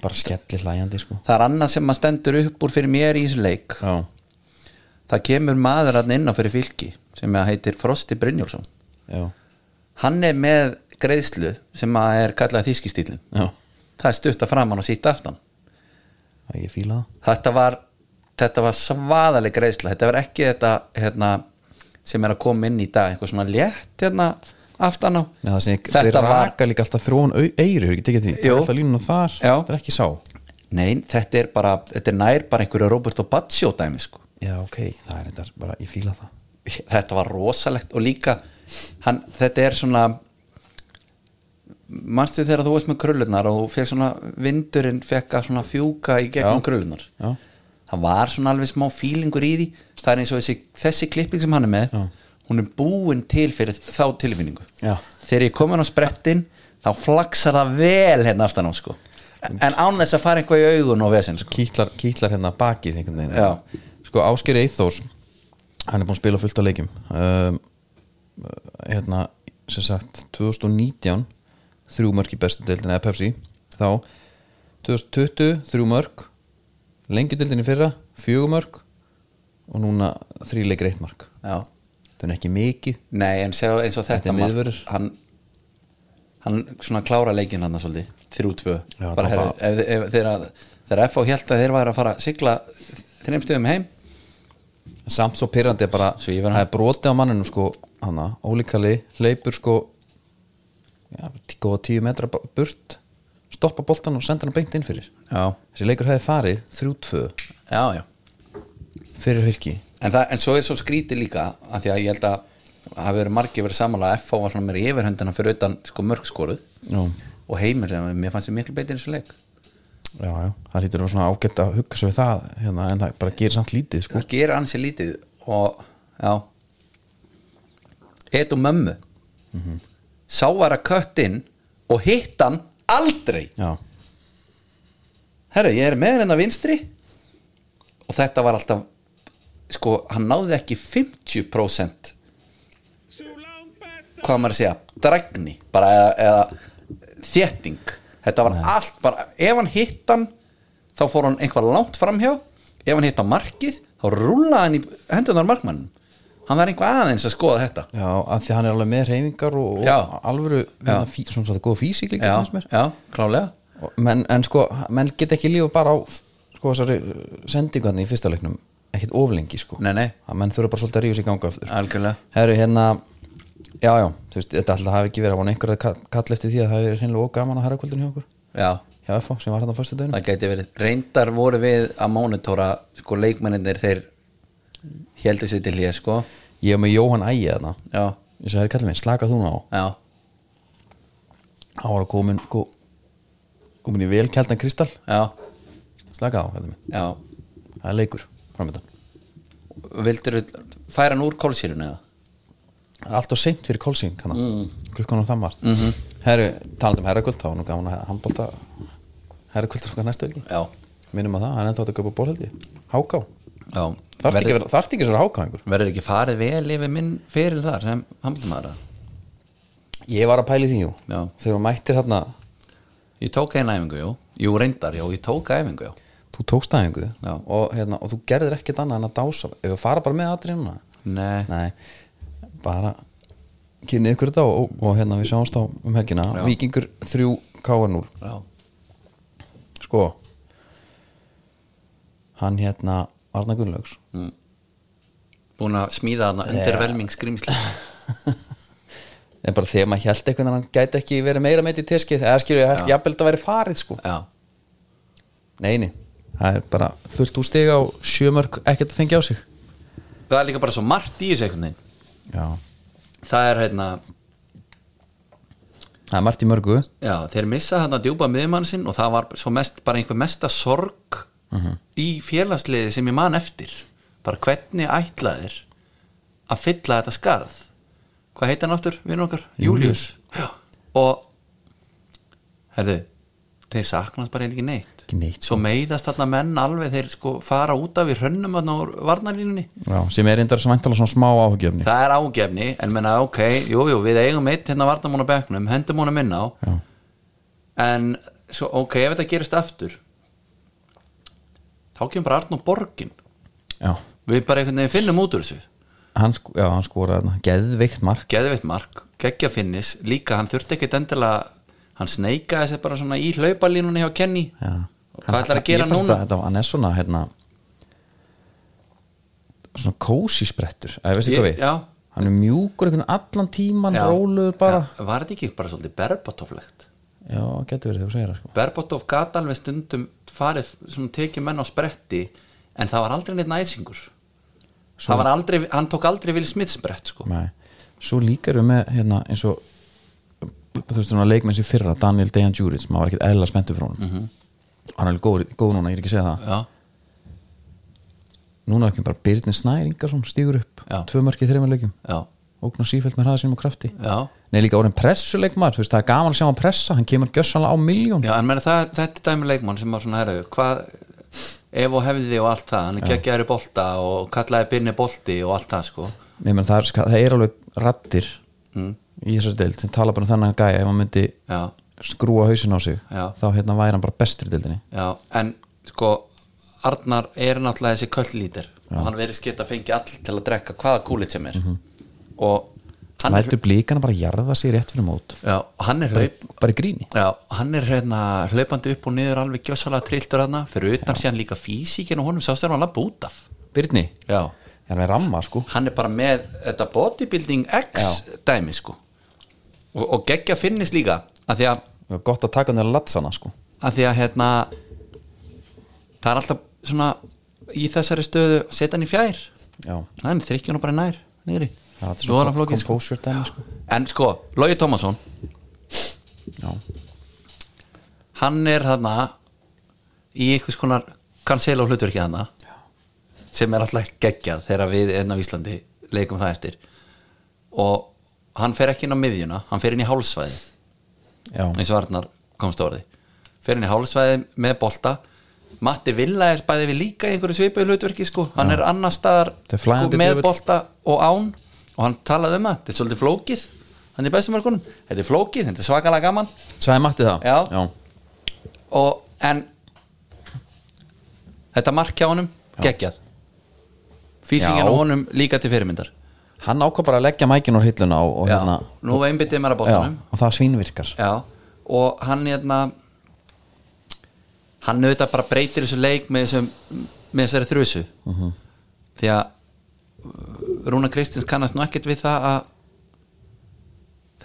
Speaker 2: Bara skellir hlæjandi sko
Speaker 1: Það er annað sem maður stendur upp úr fyrir mér í þessu leik
Speaker 2: Já
Speaker 1: Það kemur maður hann inn á fyrir fylki Sem að heitir Frosti Brynjólfsson
Speaker 2: Já
Speaker 1: Hann er með greiðslu Sem að er kallað þýskistýlin
Speaker 2: Já
Speaker 1: Það er stutta framan og sítt aftan
Speaker 2: Það ég fíla það
Speaker 1: þetta var þetta var svaðaleg greiðsla þetta var ekki þetta hérna, sem er að koma inn í dag eitthvað svona létt hérna, aftan á
Speaker 2: Nei, það sem ég,
Speaker 1: þetta
Speaker 2: þeir
Speaker 1: var
Speaker 2: raka líka alltaf þróan au- eyru, ekki tekið því Það
Speaker 1: Jú.
Speaker 2: er alltaf línuna þar,
Speaker 1: Já.
Speaker 2: það er ekki sá
Speaker 1: nei, þetta er bara, þetta er nær bara einhverju Robert Baccio dæmi
Speaker 2: [LAUGHS]
Speaker 1: sko
Speaker 2: Já, ok, það er þetta bara, ég fíla það
Speaker 1: þetta var rosalegt og líka hann, þetta er svona manstu þegar þú veist með krullunar og þú fekk svona vindurinn fekk að svona fjúka í gegnum
Speaker 2: Já.
Speaker 1: krullunar
Speaker 2: Já.
Speaker 1: það var svona alveg smá fílingur í því það er eins og þessi, þessi klipping sem hann er með
Speaker 2: Já.
Speaker 1: hún er búin til fyrir þá tilfinningu
Speaker 2: Já.
Speaker 1: þegar ég kom hann á sprettin þá flaksar það vel hérna aftan á sko en án þess að fara eitthvað í augun og vesen sko.
Speaker 2: kýtlar, kýtlar hérna bakið einhvern veginn
Speaker 1: Já.
Speaker 2: sko Ásker Eithós hann er búinn að spila fullt af leikjum um, hérna sem sagt 2019 þrjú mörg í bestu deildin eða Pepsi þá 2020 þrjú mörg lengi deildin í fyrra fjögur mörg og núna þrý leikir eitt mark
Speaker 1: já
Speaker 2: það er ekki mikið
Speaker 1: Nei, en sjá, eins og
Speaker 2: Þetta
Speaker 1: þetta
Speaker 2: er
Speaker 1: mark,
Speaker 2: miðvörður.
Speaker 1: hann, hann svona klára leikinn hann svolítið, 3-2
Speaker 2: Já,
Speaker 1: bara
Speaker 2: það
Speaker 1: herri,
Speaker 2: var-
Speaker 1: ef, ef, þegar, þegar FH held að þeir væri að fara að sigla þreim stöðum heim
Speaker 2: samt svo pyrrandi bara
Speaker 1: Svífur hann.
Speaker 2: það er broti á manninu sko hana, ólíkali, hleypur sko já, tí- góða tíu metra ba- burt stoppa boltan og senda hann beint inn fyrir
Speaker 1: Já,
Speaker 2: þessi leikur hefði farið 3-2
Speaker 1: já, já
Speaker 2: fyrir fylki
Speaker 1: en, það, en svo er svo skrítið líka að því að ég held að það hafi verið margir verið samanlega að FH var svona meira í yfirhöndina fyrir utan sko mörgskoruð
Speaker 2: já,
Speaker 1: og heimir sem mér fannst við miklu beitir eins og leik
Speaker 2: já, já. það lítur að vera svona ágætt að hugga svo við það hérna, en það bara gerir samt lítið sko.
Speaker 1: það gera ansi lítið og já eitt og mömmu sá var að kött inn og hitt hann aldrei
Speaker 2: já,
Speaker 1: herru ég er með hennar vinstri og þetta var alltaf sko hann náði ekki 50%
Speaker 6: Sulão Pesta.
Speaker 1: hvað á maður að segja drægni bara eða, eða þétting þetta var allt bara ef hann hitt hann þá fór hann eitthvað langt framhjá ef hann hitt á markið þá rúlaði hann í hendunar markmannum hann var einhvað aðeins að skoða þetta
Speaker 2: já, að því að hann er alveg með reyfingar og,
Speaker 1: Já.
Speaker 2: og alvöru hérna, fí, svona svona góða físík líka fannst mér.
Speaker 1: já, klálega
Speaker 2: Og- menn, en sko, menn get ekki lífa bara á sko þessari sendingarni í fyrsta leiknum ekkert oflengi sko
Speaker 1: Nei, nei.
Speaker 2: Að menn þurfa bara svolítið að rífa sér ganga aftur
Speaker 1: Algjörlega.
Speaker 2: herru hérna já, já, þú veist, þetta alltaf hafi ekki verið að vona einhverja kall, kall eftir því að það er hreinlega ógaman að herrakvöldin hjá okkur
Speaker 1: Já,
Speaker 2: hjá FH sem var hann á fyrstu dögnu
Speaker 1: það gæti verið Reyndar voru við að mónitora sko leikmenninir þeir heldur sér til hér sko
Speaker 2: ég er með Jóhann Ægi þarna
Speaker 1: Já,
Speaker 2: eins og herri kallið minn, slaka þú nú á
Speaker 1: já,
Speaker 2: hann var komin, ko, komin í velkjaldan kristall
Speaker 1: já,
Speaker 2: slaka á, kallið minn,
Speaker 1: já
Speaker 2: það er leikur framöndan,
Speaker 1: Vildur færa hann úr kólsýrun eða?
Speaker 2: það er allt og seint fyrir kólsing mm. klukkan á þann var mm -hmm. herri, talandi um herrakvöld, þá var nú gaman að handbalta herrakvöldur okkar næstu velgi
Speaker 1: Já,
Speaker 2: minnum að það, hann er þátt að köpa bólhaldi háká,
Speaker 1: já
Speaker 2: þarf ekki að
Speaker 1: Verður-
Speaker 2: vera þarf ekki að vera háká einhver
Speaker 1: Verður ekki farið vel yfir minn fyrir þar sem handlumara
Speaker 2: ég var að pæli því, jú,
Speaker 1: Já.
Speaker 2: þegar þú mættir hérna
Speaker 1: Ég tók eina æfingu, jú Jú, reyndar, jú, ég tók æfingu, jú
Speaker 2: þú tókst aðingu
Speaker 1: Já.
Speaker 2: og, hérna, og þú gerðir ekkert annað en að dása ef við fara bara með atriðina
Speaker 1: Nei,
Speaker 2: nei, bara kynnið ykkur þetta og, og, hérna við sjáumst á um helgina
Speaker 1: Já.
Speaker 2: Víkingur 3 KNU
Speaker 1: já,
Speaker 2: sko hann hérna Arna Gunnlaugs
Speaker 1: búin að smíða þarna undirvelming skrýmsli
Speaker 2: en bara þegar maður held eitthvað hann gæti ekki verið meira meitt í teskið eða skilur ég held
Speaker 1: Já.
Speaker 2: jafnvel að væri farið sko
Speaker 1: Já,
Speaker 2: neini, það er bara fullt úr stiga og sjömörk ekkert að fengja á sig
Speaker 1: það er líka bara svo margt í þessu einhvern veginn
Speaker 2: já,
Speaker 1: Það er hérna,
Speaker 2: það er margt í mörgu
Speaker 1: Já, þeir missa þarna djúpa miðmann sinn og það var svo mest, bara einhver mesta sorg í félagsliði sem ég man eftir bara hvernig ætlaðir að fylla þetta skarð hvað heitir hann aftur, vinur okkar? Július Já, og herðu, þeir saknast bara ekki neitt
Speaker 2: Ekki neitt.
Speaker 1: svo meiðast þarna menn alveg þeir sko fara út af í hrönnum þarna úr varnarlínunni
Speaker 2: já, sem er reyndar svæntalega svona smá áhugjefni
Speaker 1: það er ágefni, en menna ok jú, jú, við eigum eitt hérna varnamónu bekknum hendum honum inn á
Speaker 2: Já.
Speaker 1: en svo, ok, ef þetta gerist aftur þá kemur bara Arnó Borgin
Speaker 2: já,
Speaker 1: við bara einhvern veginn finnum út úr þessu
Speaker 2: hann, sko, já, hann skoraði þarna geðveikt mark
Speaker 1: geðveitt mark, geggja finnis líka hann þurfti ekkit endilega hann sneikaði sér bara svona í hlauparlínunni hjá Kenny
Speaker 2: já.
Speaker 1: og hvað ætlar að gera
Speaker 2: Ég fannst
Speaker 1: núna?
Speaker 2: að þetta, hann er svona hérna, svona kósi sprettur eða veist ekki hvað
Speaker 1: Ég-
Speaker 2: við
Speaker 1: já.
Speaker 2: hann er mjúkur einhvern allan tíman róluður bara já,
Speaker 1: Já, var þetta ekki bara svolítið berbatoflegt
Speaker 2: já getur verið þegar þú segir það sko.
Speaker 1: Berbatov gat alveg stundum farið, svona tekið menn á spretti en það var aldrei neitt næsingur það var aldrei, hann tók aldrei Will Smith sprett sko
Speaker 2: Nei. svo líkar við með hérna, eins og þú veist svona leikmenn sem í fyrra Daniel Dejan Djuric, maður var ekkert eðla spenntur frá honum hann er alveg góð, góð núna, ég er ekki að segja það
Speaker 1: Mhm. já,
Speaker 2: núna ekki bara Birnir Snær Ingarsson stígur upp,
Speaker 1: Já.
Speaker 2: tvö mörki í þreymur leikjum
Speaker 1: já,
Speaker 2: ógnar sífælt með hraða sínum og krafti
Speaker 1: já
Speaker 2: Nei, líka orðin pressuleikmaður, þú veist, það er gaman að sjá hann pressa hann kemur gjössanlega á miljón
Speaker 1: já, en meni, það, þetta er dæmi leikmann sem var svona herru, hvað ef og hefði og allt það, hann er geggjaður í bolta og kallaði Birni bolti og allt það sko
Speaker 2: Nei, menn, það, er, ska- það er alveg rattir í þessari deild sem tala bara um þannig að gæja ef hann myndi
Speaker 1: Mm. já,
Speaker 2: skrúa hausin á sig
Speaker 1: Já.
Speaker 2: þá hérna væri hann bara bestur í deildinni
Speaker 1: já, en sko Arnar er náttúrulega þessi köllítir og hann verið skipt að fengi all til að drekka hvaða kúlit sem er og hann er,
Speaker 2: lætur blíkana bara jarða sig rétt fyrir mót
Speaker 1: já, og hann er hlaup
Speaker 2: bara í gríni
Speaker 1: Já, hann er hérna hlaupandi upp og niður alveg gjössalega trilltur hérna fyrir utan síðan líka físíkinn og honum sást er hann lappa út af
Speaker 2: Byrni,
Speaker 1: Já,
Speaker 2: hann er ramma sko
Speaker 1: hann er bara með þetta bodybuilding X dæmi sko og, og geggja finnis líka að því að,
Speaker 2: og gott að taka hann þegar latsana sko
Speaker 1: að því að hérna það er alltaf svona í þessari stöðu setja hann í fjær
Speaker 2: Já,
Speaker 1: hann er þrykkjun og bara nær niðri,
Speaker 2: Já, þetta
Speaker 1: svo er
Speaker 2: er svona
Speaker 1: hann flókið sko.
Speaker 2: composure dæmi, sko.
Speaker 1: en sko, Lógi Tómasson
Speaker 2: Já.
Speaker 1: hann er þarna í einhvers konar cancel á hlutverki þarna sem er alltaf geggjað þegar við enn á Íslandi leikum það eftir og hann fer ekki inn á miðjuna hann fer inn í hálsvæði
Speaker 2: Já.
Speaker 1: eins og Arnar komst á orði fer inn í hálsvæði með bolta Matti Villaes bæði við líka í einhverju svipuðu hlutverki sko, hann er annar staðar sko,
Speaker 2: Þetta er flæðandi
Speaker 1: með
Speaker 2: djöfull.
Speaker 1: bolta og án og hann talaði um það, þetta er svolítið flókið hann er bestum örkunum, þetta er flókið þetta er svakalega gaman
Speaker 2: Sæði Matti það?
Speaker 1: Já. og en þetta mark hjá honum geggjað físingin
Speaker 2: Já.
Speaker 1: á honum líka til fyrirmyndar
Speaker 2: Hann ákvað bara að leggja mækinn á hilluna og, og
Speaker 1: já,
Speaker 2: hérna
Speaker 1: nú einbyttið mér að
Speaker 2: Já,
Speaker 1: bóttanum
Speaker 2: og það svínvirkar
Speaker 1: já. og hann hérna hann auðvitað bara breytir þessu leik með, þessum, með þessari þrjusu uh, því að Rúna Kristins kannast nú ekkert við það að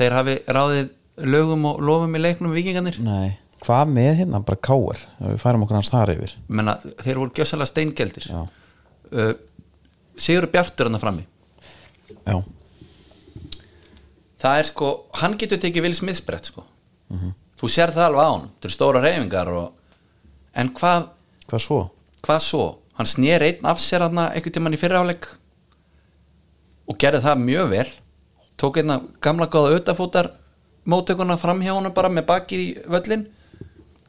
Speaker 1: þeir hafi ráðið lögum og lofum í leiknum vikingarnir
Speaker 2: Nei, hvað með hérna bara káar Ef við færum okkur hans þar yfir
Speaker 1: menna, þeir voru gjössalega steingeldir
Speaker 2: Já,
Speaker 1: uh, Sigur Bjartur hann að frammi
Speaker 2: já,
Speaker 1: það er sko, hann getur tekið Will Smith brett sko þú sér það alveg á hann, þetta eru stóra reyfingar og... en hvað
Speaker 2: hvað svo?
Speaker 1: hvað svo, hann snýr einn af sér hann einhvern tímann í fyrirháleik og gerði það mjög vel tók einna gamla góða auðafótar móttökuna fram hjá honum bara með bakið í völlin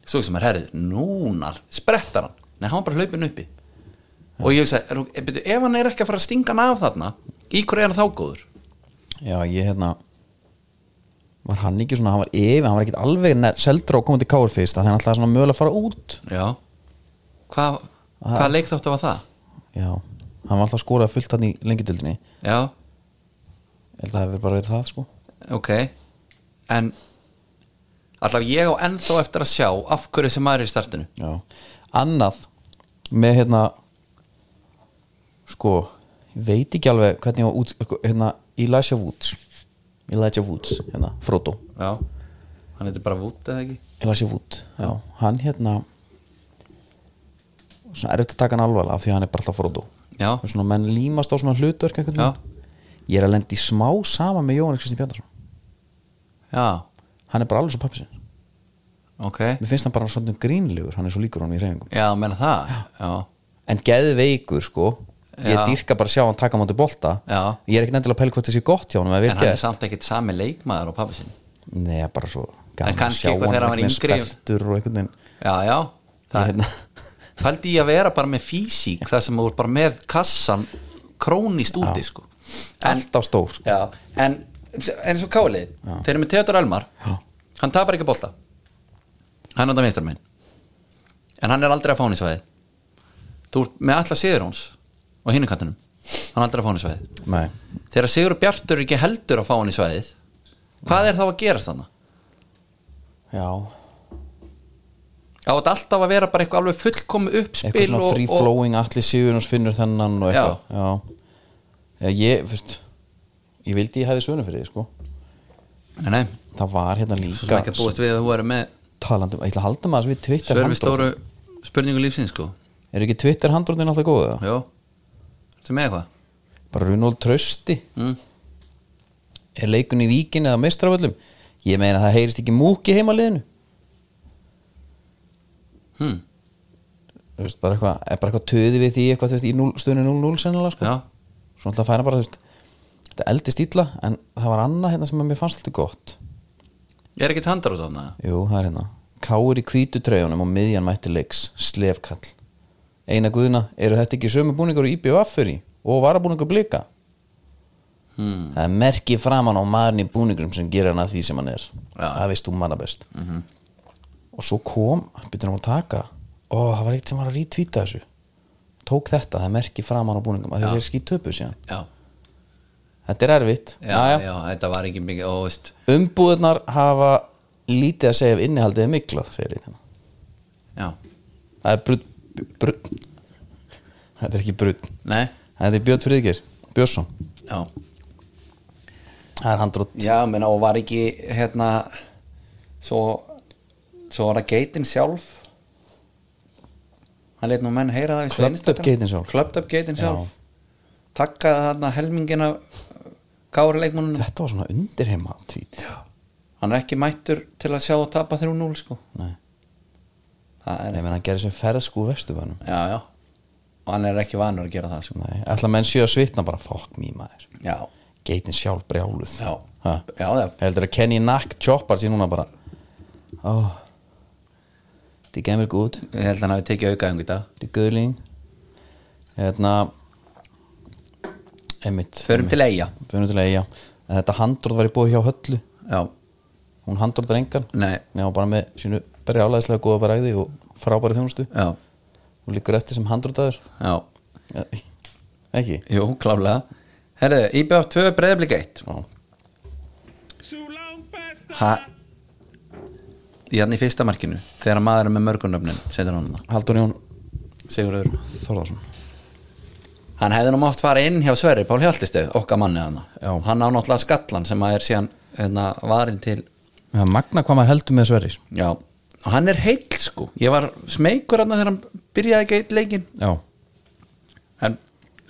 Speaker 1: svo sem er herrið, núna sprettar hann, nei hann var bara hlaupin uppi og ég sagði, er, er, byrju, ef hann er ekki að fara að stinga hann af þarna í hverju er hann þá góður
Speaker 2: Já, ég hérna Var hann ekki svona, hann var yfir Hann var ekkit alveg ne- seldur á að koma til káar fyrst Þannig hann alltaf svona mögulega að fara út
Speaker 1: Já Hva, Hvað leikþáttu var það?
Speaker 2: Já, hann var alltaf að skora fullt hann í lengjudildinni
Speaker 1: Já,
Speaker 2: Ég held að það hefur bara verið það sko
Speaker 1: ok En Alltaf ég á ennþá eftir að sjá af hverju sem maður er í startinu
Speaker 2: Já. Annað með hérna sko, ég veit ekki alveg hvernig ég var út, sko, hérna Elijah Woods Elijah Woods, hérna, Frodo
Speaker 1: Já, hann heitir bara Vút eða ekki
Speaker 2: Elijah Wood, já, hann hérna svona erfitt að taka hann alveg af því að hann er bara alltaf Frodo
Speaker 1: Já,
Speaker 2: Og svona menn límast á svona hlutverk einhvern
Speaker 1: Já.
Speaker 2: veginn. ég er að lendi smá sama með Jóhann Kristinn Bjarnason
Speaker 1: já,
Speaker 2: hann er bara alveg svo pappi sinn
Speaker 1: ok
Speaker 2: mér finnst hann bara svona grínlegur, hann er svo líkur honum í reyfingum
Speaker 1: Já, menna það Já,
Speaker 2: en geðveikur sko ég
Speaker 1: Já.
Speaker 2: dýrka bara að sjá hann taka mátu bolta
Speaker 1: Já.
Speaker 2: ég er ekki nendilega að pæla hvort það sé gott hjá hann en
Speaker 1: en hann er samt ekkit sami leikmaður á pappi sinni
Speaker 2: Nei, bara svo
Speaker 1: En kannski eitthvað þegar hann var
Speaker 2: einhvern
Speaker 1: yngri.
Speaker 2: veginn spertur og einhvern veginn
Speaker 1: Já, já,
Speaker 2: Ég
Speaker 1: það
Speaker 2: hérna,
Speaker 1: Fældi ég að vera bara með físík það sem þú ert bara með kassan krónist úti sko En
Speaker 2: allt á stór sko.
Speaker 1: Já, en eins og Káli þeir eru með Theodor Elmar
Speaker 2: Já.
Speaker 1: hann tapar ekki bolta hann er þetta vinstar minn en hann er aldrei að fá hann í svæði þú ert með alla Sigur hans og hinu kattinum, hann er aldrei að fá hann í svæði
Speaker 2: Nei,
Speaker 1: þegar Sigur Bjartur er ekki heldur að fá hann í svæðið hvað er þá að gerast þannig?
Speaker 2: já,
Speaker 1: á þetta alltaf að vera bara eitthvað alveg fullkomu uppspil
Speaker 2: eitthvað svona free
Speaker 1: og, og,
Speaker 2: flowing allir síður og finnur þennan og eitthvað já. Já. ég, fyrst ég vildi ég hefði söguna fyrir því sko
Speaker 1: nei, nei,
Speaker 2: það var hérna
Speaker 1: svo sem
Speaker 2: líka
Speaker 1: ekki að búast við að þú eru með
Speaker 2: talandum, ég ætla að halda maður þessu við Twitter
Speaker 1: sörfistóru
Speaker 2: handrótin
Speaker 1: spurningu lífsins sko,
Speaker 2: er ekki Twitter handrótin alltaf góða?
Speaker 1: já sem er eitthvað
Speaker 2: bara Runóld Trausti
Speaker 1: Mm.
Speaker 2: er leikun í víkin eða mestravöllum ég meina það heyrist ekki múki heima liðinu
Speaker 1: Hmm.
Speaker 2: Þú veist, bara eitthvað, er bara eitthvað töði við því eitthvað þú veist, í núll- stöðunni 0-0 sennilega sko.
Speaker 1: já,
Speaker 2: svo alltaf fæna bara þú veist, þetta eldi stíla en það var annað hérna sem að mér fannst alltaf gott
Speaker 1: ég er ekki tandar út af það
Speaker 2: jú, það er hérna Káur í hvítu treyjunum og miðjan mætti leiks slefkall eina guðina, eru þetta ekki sömu búningar og íbjöf affyrir og varabúningar blika
Speaker 1: Hmm.
Speaker 2: það er merki framan á maðurinn í búningurum sem gerir hann að því sem hann er
Speaker 1: Já. Mhm.
Speaker 2: það veist þú manna best -hmm. og svo kom, byrjum hann að taka og það var eitt sem var að rítvíta þessu tók þetta, það er merki framan á búningum að
Speaker 1: Já.
Speaker 2: þau verið skýt töpu síðan
Speaker 1: já,
Speaker 2: þetta er erfitt,
Speaker 1: já, já, þetta var ekki mikið og, veist,
Speaker 2: umbúðunar hafa lítið að segja ef innihaldið er miklað segir eitt hérna
Speaker 1: já,
Speaker 2: það er brudd brud. þetta er ekki brudd
Speaker 1: nei
Speaker 2: þetta er Björn Friðgir, Björnsson
Speaker 1: já,
Speaker 2: það er handrótt
Speaker 1: já menna, og var ekki hérna svo, svo var það geitin sjálf hann leit nú menn heyra það í
Speaker 2: Clubbed
Speaker 1: Instagram.
Speaker 2: up geitin sjálf.
Speaker 1: Clubbed up geitin
Speaker 2: Já.
Speaker 1: sjálf takkaði þarna helmingina kára leikmannunum
Speaker 2: þetta var svona undirheima tvít
Speaker 1: hann er ekki mættur til að sjá og tapa 3-0 sko
Speaker 2: Nei.
Speaker 1: það er,
Speaker 2: Nei, menn hann gerir sem ferðskú vestuvænum
Speaker 1: já, já og hann er ekki vanur að gera það sko
Speaker 2: Nei, ætla menn séu að svitna bara fokk mý maður
Speaker 1: já,
Speaker 2: Geitin sjálf brjáluð
Speaker 1: já,
Speaker 2: ha.
Speaker 1: já, já
Speaker 2: Heldur að Kenny Knack choppar sér núna bara Ó Þið gemur gút,
Speaker 1: ég held að hann hafi tekið aukaðum í dag
Speaker 2: þið guðling Hérna Einmitt
Speaker 1: Förum til eiga
Speaker 2: Förum til eiga En Þetta handróð var í búið hjá Höllu
Speaker 1: Já,
Speaker 2: Hún handróðar engan
Speaker 1: nei,
Speaker 2: Nei, hún bara með sínu brjálæðislega góða bræði og frábæri þjónustu
Speaker 1: já,
Speaker 2: Hún líkur eftir sem handróðaður
Speaker 1: já
Speaker 2: Ekki?
Speaker 1: Jú, klálega Herðu, IBF 2 breyðablik 1
Speaker 2: Já
Speaker 6: Too long past the
Speaker 1: Ha Í hann í fyrsta markinu Þegar maður er með mörgunöfnin Setur hann það
Speaker 2: Haldur Jón
Speaker 1: Sigurður
Speaker 2: Þorðarsson
Speaker 1: Hann hefði nú mátt fara inn hjá Sverri Pál Hjaltistið Okka manni hann
Speaker 2: Já.
Speaker 1: Hann á náttúrulega skallan sem að er síðan hérna, varinn til
Speaker 2: ja, magna hvað maður heldur með sverri
Speaker 1: já, og hann er heill sko ég var smeykur hann þegar hann byrjaði ekki eitt leikinn
Speaker 2: já,
Speaker 1: en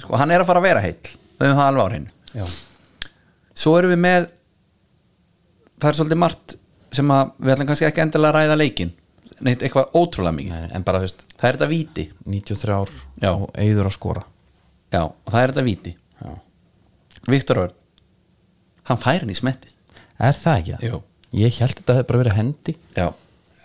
Speaker 1: sko hann er að fara að vera heill það er það alveg á hreinu
Speaker 2: já,
Speaker 1: svo erum við með það er svolítið margt sem að við ætlum kannski ekki endilega að ræða leikinn neitt eitthvað ótrúlega mikið
Speaker 2: en bara þú veist
Speaker 1: það er þetta víti
Speaker 2: 93 ár
Speaker 1: Já.
Speaker 2: og eigður að skora
Speaker 1: já, og það er þetta víti
Speaker 2: já.
Speaker 1: Viktor Örn hann fær hann í smetti
Speaker 2: er það ekki það?
Speaker 1: Jú.
Speaker 2: ég held þetta hefði bara verið hendi
Speaker 1: já,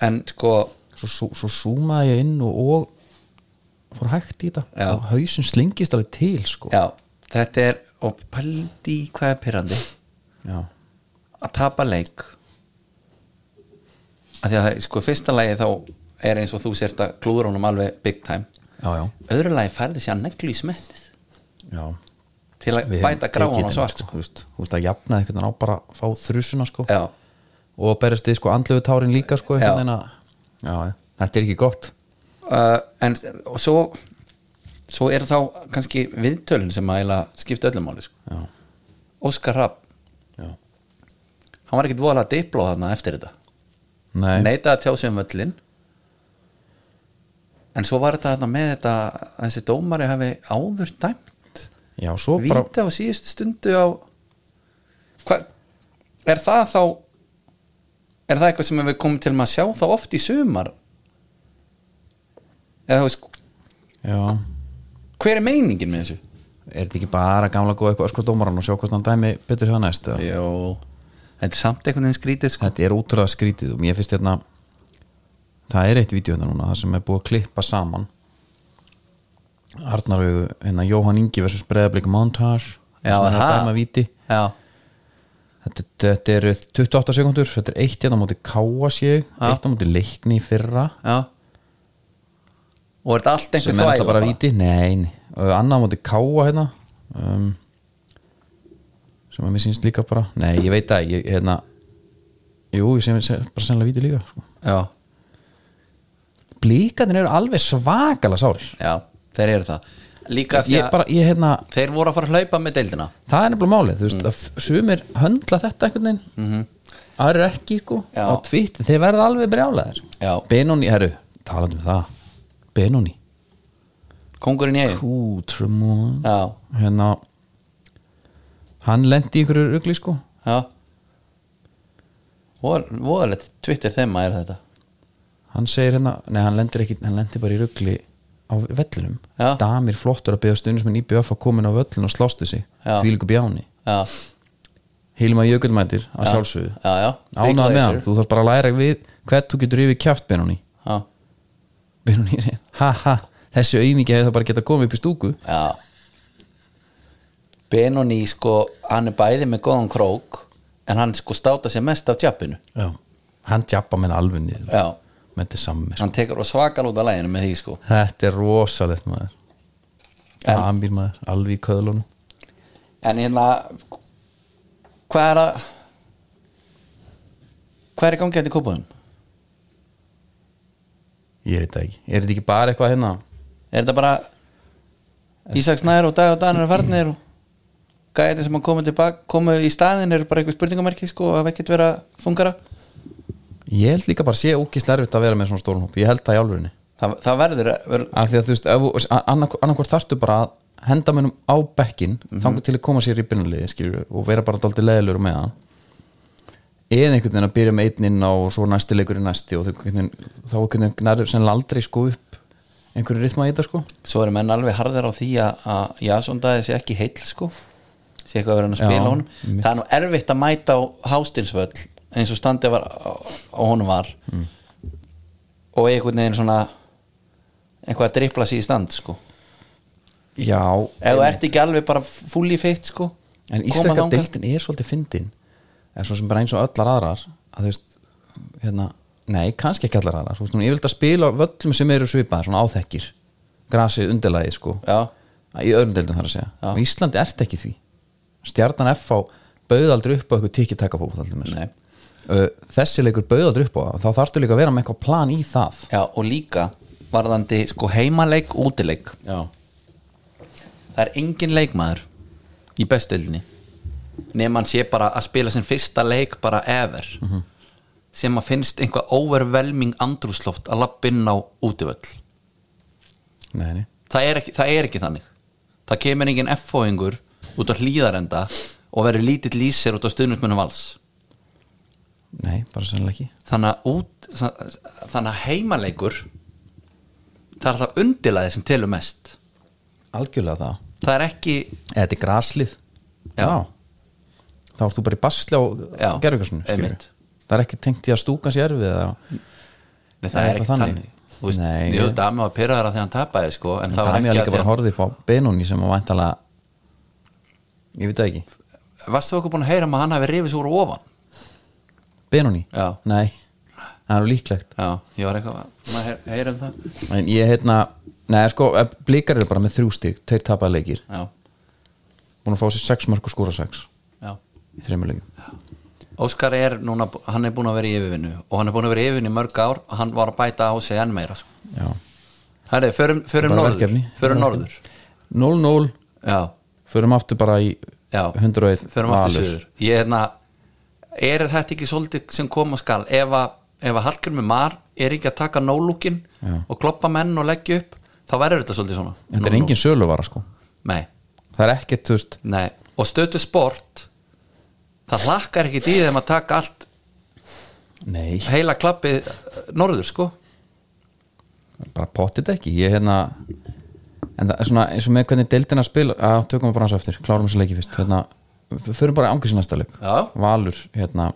Speaker 1: en sko
Speaker 2: svo, svo, svo súmaði ég inn og, og fór hægt í þetta
Speaker 1: Já.
Speaker 2: og hausin slingist alveg til sko
Speaker 1: já, þetta er og pældi í hvað er pyrrandi
Speaker 2: Já.
Speaker 1: að tapa leik að því að það- sko fyrsta lagi þá er eins og þú sért að klúður honum alveg big time
Speaker 2: Já, já.
Speaker 1: öðru lagi færði sér að neglu í smettið
Speaker 2: Já.
Speaker 1: til að
Speaker 2: Við
Speaker 1: bæta
Speaker 2: hefum
Speaker 1: gráan
Speaker 2: tekið
Speaker 1: og
Speaker 2: þetta,
Speaker 1: svart sko.
Speaker 2: sko, þú veist, þú veist að jafna einhvern veginn á bara að fá þrjusuna sko
Speaker 1: já,
Speaker 2: og að berjast þið sko andlegu tárin líka
Speaker 1: Já.
Speaker 2: sko einhvern veginn að já, þetta er ekki gott
Speaker 1: uh, en og svo svo er þá kannski viðtölin sem að eiginlega skipta öllum máli sko.
Speaker 2: já,
Speaker 1: Óskar Rapp
Speaker 2: já.
Speaker 1: hann var ekkert voðalega dipló þarna eftir þetta
Speaker 2: Nei.
Speaker 1: neitaði að tjá sig um öllin en svo var þetta þarna með þetta að þessi dómari hafi áður dæmt
Speaker 2: já, svo bara
Speaker 1: víti á síðustu stundu á hvað er það þá er það eitthvað sem við komum til með að sjá þá oft í sumar eða þú veist
Speaker 2: já.
Speaker 1: hver er meiningin með þessu
Speaker 2: er þetta ekki bara gamla góða eitthvað öskra dómaran og sjá hvort hann dæmi betur hjá næst eða?
Speaker 1: Jó. þetta er samt einhvern veginn skrítið sko.
Speaker 2: þetta er útrúlega skrítið og mér finnst hérna það er eitt vídeo hérna núna það sem er búið að klippa saman Arnaraugu, hérna Jóhann Ingi versus Breiðablik Montage
Speaker 1: Já,
Speaker 2: sem er að
Speaker 1: það.
Speaker 2: dæma víti
Speaker 1: já,
Speaker 2: þetta, þetta eru 28 sekundur þetta er eitt hérna á móti káa séu
Speaker 1: Já.
Speaker 2: eitt hérna á móti leikni í fyrra
Speaker 1: já og er þetta allt
Speaker 2: sem
Speaker 1: einhver
Speaker 2: er alltaf bara
Speaker 1: bara?
Speaker 2: víti nei, nei. Og annað á móti káa hérna um, sem að mér sýnst líka bara nei, ég veit það, ég hérna jú, ég sem, sem bara sennilega víti líka sko.
Speaker 1: já,
Speaker 2: blíkarnir eru alveg svakala sárir
Speaker 1: já, þeir eru það líka því
Speaker 2: ég
Speaker 1: að
Speaker 2: bara, ég hérna,
Speaker 1: þeir voru að fara að hlaupa með deildina
Speaker 2: það er nefnilega málið þú veist,
Speaker 1: Mm.
Speaker 2: að sumir höndla þetta einhvern veginn mm -hmm. aðrir ekki, sko,
Speaker 1: Mhm. Já.
Speaker 2: á tvitt þeir verða alveg brjálæðir
Speaker 1: Já.
Speaker 2: Benoni, herru, talandi um það Benoni,
Speaker 1: kongurinn ég
Speaker 2: Kútrumon
Speaker 1: já,
Speaker 2: hérna hann lendi í einhverju rugli, sko
Speaker 1: já voðalegt Twitter þemma er þetta
Speaker 2: hann segir hérna, nei, hann lendir ekki hann lendir bara í rugli á vellinum
Speaker 1: Já.
Speaker 2: damir flottur að beða stundismenn í BF að komin á völlin og slástu sig
Speaker 1: Já.
Speaker 2: því líka bjáni,
Speaker 1: já,
Speaker 2: Hilma Jökulmætir að sjálfsögðu
Speaker 1: já, já
Speaker 2: ánað með hann, þú þarf bara að læra við hvert þú getur yfir kjátt Benóni
Speaker 1: já,
Speaker 2: Benóni segir, ha ha, þessi auðmiki hefði það bara geta komið upp í stúku
Speaker 1: já. Benoni sko hann er bæði með góðan krók en hann sko státa sér mest af tjappinu
Speaker 2: Já. hann djappa með alveg niður
Speaker 1: já,
Speaker 2: með þetta samme, sko.
Speaker 1: hann tekur og svakal út af læginu með því sko
Speaker 2: þetta er rosalegt maður
Speaker 1: En-
Speaker 2: Amir maður, alveg í köðlunum
Speaker 1: en hérna hvað er að hvað er í gangi hérna í kópaðum?
Speaker 2: ég veit það ekki, er þetta ekki bara eitthvað hérna
Speaker 1: er þetta bara Ísaks Nær og Dag og Danur er farnir og gæði sem að koma tilbaka komu í staðin eru bara eitthvað spurningamerki sko og hafa ekkert vera fungara
Speaker 2: ég held líka bara að sé ókist erfitt að vera með svona stórum hóp, ég held það í alvegurinni
Speaker 1: það, það verður, að- verður
Speaker 2: af því að þú veist, ef- annarkvort annarkvort þarftu bara að henda mönnum á bekkin mm
Speaker 1: Mhm.
Speaker 2: til að koma sér í byrnuliði skilur, og vera bara daldið leðilur með hann eða einhvern veginn að byrja með einn inn á og svo næsti leikur í næsti og þau einhvern veginn- þá einhvern veginn nærður sennilega aldrei sko upp einhverju ritma í þetta sko
Speaker 1: svo eru menn alveg harðir á því að, að Jason Dæði sé ekki heill sko sé eitthvað að vera hann að
Speaker 2: Já,
Speaker 1: spila honum
Speaker 2: mitt.
Speaker 1: það er nú erfitt að mæta á hástinsvöll eins og standið var á, á honum var
Speaker 2: Mm.
Speaker 1: og einhvern veginn svona eitthvað að dripla sér í stand sko
Speaker 2: já,
Speaker 1: ef þú ert ekki alveg bara fulli fitt sko
Speaker 2: en
Speaker 1: koma
Speaker 2: íslenska
Speaker 1: þangað.
Speaker 2: deildin er svolítið fyndin eða svo sem bara eins og öllar aðrar að þú veist, hérna nei, kannski ekki allar aðrar, þú veist, hún er yfirleitt að spila á völlum sem eru svipaðar, svona áþekkir grasið undirlagið sko
Speaker 1: já,
Speaker 2: í öðrum deildum þarf að segja og Íslandi ert ekki því stjarnan FH bauð aldrei upp á eitthvað tikið taka
Speaker 1: Nei.
Speaker 2: fótball Uh, þessi leikur bauð aldrei upp á það þá þarftu líka að vera með eitthvað plan í það
Speaker 1: Já, og líka varðandi sko heimaleik, útileik
Speaker 2: já,
Speaker 1: það er engin leikmaður í bestöldinni nema hann sé bara að spila sinn fyrsta leik bara ever sem að finnst einhvað overwhelming andrúsloft að lappa inn á útivöll
Speaker 2: Nei, nei
Speaker 1: það er ekki, það er ekki þannig það kemur engin F-fóingur út á hlýðarenda og verður lítill lýsir út á stuðnismunum vals
Speaker 2: Nei, bara sannlega ekki
Speaker 1: þannig að, út, þann- þannig að heimaleikur það er alltaf undilaði sem telur mest
Speaker 2: Algjörlega það
Speaker 1: það er ekki
Speaker 2: Eða þetta er graslið
Speaker 1: Já.
Speaker 2: Þá ert þú bara í basli á
Speaker 1: Já,
Speaker 2: gerðugarsinu
Speaker 1: einmitt.
Speaker 2: Það er ekki tengt í að stúkan sér við eða
Speaker 1: Nei, það,
Speaker 2: Það er
Speaker 1: er ekki
Speaker 2: bara
Speaker 1: þannig,
Speaker 2: þannig.
Speaker 1: Þú veist,
Speaker 2: Nei.
Speaker 1: Jú, Dami var pyrraður að því hann tapaði sko, en, það var
Speaker 2: Dami
Speaker 1: ekki
Speaker 2: var líka
Speaker 1: að því
Speaker 2: bara
Speaker 1: hann
Speaker 2: horfið upp á Benoni sem að vantala Ég veit það ekki
Speaker 1: Varstu okkur búin að heyra um að hann hafi rifið svo úr ofan?
Speaker 2: Benoni?
Speaker 1: Já.
Speaker 2: Nei, það er nú líklegt
Speaker 1: Já, ég var eitthvað maður heyr, heyra um það
Speaker 2: En ég hérna, nei sko Blikar eru bara með þrjú stig, tveir tapaði leikir
Speaker 1: Já,
Speaker 2: Búin að fá sér sex mörg og skóra sex
Speaker 1: já
Speaker 2: Í þreymur leikum
Speaker 1: Óskar er núna, hann er búin að vera í yfirvinnu og hann er búin að vera í yfirvinnu í mörg ár og hann var að bæta á sig enn meira sko.
Speaker 2: Já
Speaker 1: Herri, förum, förum
Speaker 2: Bara
Speaker 1: norður
Speaker 2: verkefni.
Speaker 1: Förum norður
Speaker 2: 0-0,
Speaker 1: Já,
Speaker 2: förum aftur bara í
Speaker 1: já
Speaker 2: 101
Speaker 1: Förum aftur
Speaker 2: Valur.
Speaker 1: söður Ég er na, er þetta ekki svolítið sem koma skal ef að, ef að Hallgrimur Mar er ekki að taka nólúkin
Speaker 2: Já.
Speaker 1: og kloppa menn og leggja upp þá verður þetta svolítið svona
Speaker 2: Þetta er engin söluvara sko
Speaker 1: Nei,
Speaker 2: Það er ekkert, þú veist
Speaker 1: Nei, og stötu sport það hlakkar ekki í þeim að taka allt
Speaker 2: Nei,
Speaker 1: heila klappið eh, norður sko
Speaker 2: bara pottit ekki Ég hérna En það er svona eins og með hvernig deildina spil að tökum við bara hans aftur, klárum þessu leiki fyrst hérna, f- förum bara ángur sér næsta leik
Speaker 1: Já.
Speaker 2: Valur, hérna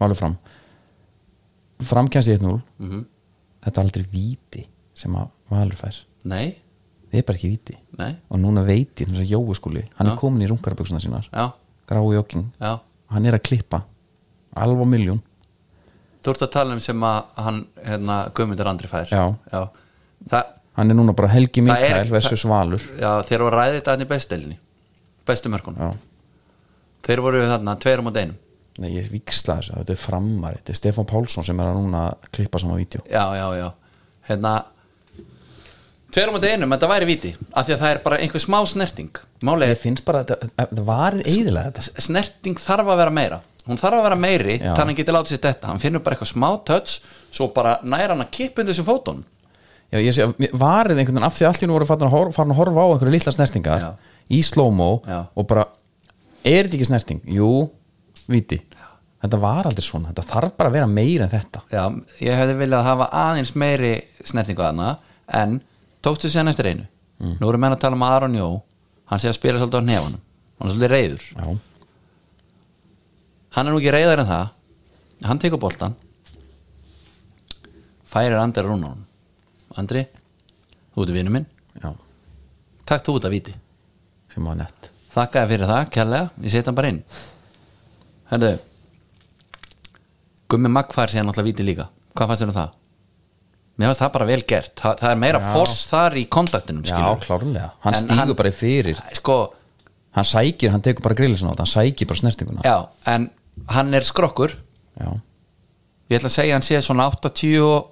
Speaker 2: Valur fram Fram kemst í 1-0
Speaker 1: Mhm.
Speaker 2: Þetta er aldrei víti sem að Valur fær
Speaker 1: Nei,
Speaker 2: Þetta er bara ekki víti
Speaker 1: nei,
Speaker 2: og núna veit ég, þess að Jói skúli hann
Speaker 1: Já.
Speaker 2: er komin í rungaraböksuna sínar
Speaker 1: já,
Speaker 2: gráu jokking,
Speaker 1: já
Speaker 2: hann er að klippa alveg miljón
Speaker 1: Þú ert að tala um sem að hann hérna, Guðmundur Andri fær
Speaker 2: Já.
Speaker 1: Það,
Speaker 2: hann er núna bara Helgi
Speaker 1: Það er-
Speaker 2: Mikael versus Valur
Speaker 1: já þeir voru að ræði þetta hann í bestelni bestu mörkunum
Speaker 2: já,
Speaker 1: Þeir voru þarna tveir á mót einum
Speaker 2: Nei, ég viksla þessu, þetta er framari þetta er Stefán Pálsson sem er að núna að klippa saman vídeo
Speaker 1: Já, já, já Hérna Tveir á mót einum, en það væri viti af því að það er bara einhver smá snerting Máli
Speaker 2: ég finnst bara, að þetta þetta varið eiginlega þetta
Speaker 1: snerting þarf að vera meira hún þarf að vera meiri
Speaker 2: Já.
Speaker 1: þannig að hann geti látið sér þetta hann finnur bara eitthvað smá touch svo bara næra hann að kippa undir þessum fótun
Speaker 2: já, ég sé, að mér- varið einhvern veginn af því að allir nú voru farin að, horf, farin að horfa á einhverju litla snertingar
Speaker 1: Já.
Speaker 2: í slow-mo
Speaker 1: Já.
Speaker 2: og bara, er þetta ekki snerting? jú, víti þetta var aldrei svona, þetta þarf bara að vera meira en þetta
Speaker 1: já, ég hefði viljað hafa aðeins meiri snertingu aðna en tókstu sér eftir einu nú erum menn að tala um Aron Jó hann sé að spila svolítið á hnefanum hann er svolítið reyður
Speaker 2: já,
Speaker 1: hann er nú ekki reyðar en það hann tekur boltan færir Andri rún á hann Andri, þú ert vinnu minn
Speaker 2: já,
Speaker 1: takk þú út að viti
Speaker 2: sem var nett
Speaker 1: þakka þér fyrir það, kærlega ég setja hann bara inn herðu Gummi Magfær sé hann alltaf víti líka hvað fannst þér um það? mér fannst það bara vel gert, það, það er meira force þar í kontaktinum
Speaker 2: Já,
Speaker 1: skilur
Speaker 2: klárlega, hann
Speaker 1: En
Speaker 2: stígur
Speaker 1: hann-
Speaker 2: bara í fyrir
Speaker 1: sko,
Speaker 2: Hann sækir, hann tekur bara grillin sinna á þetta, Hann sækir bara snertinguna
Speaker 1: já, en hann er skrokkur
Speaker 2: Já,
Speaker 1: ég ætla að segja að hann sé svona 80 og-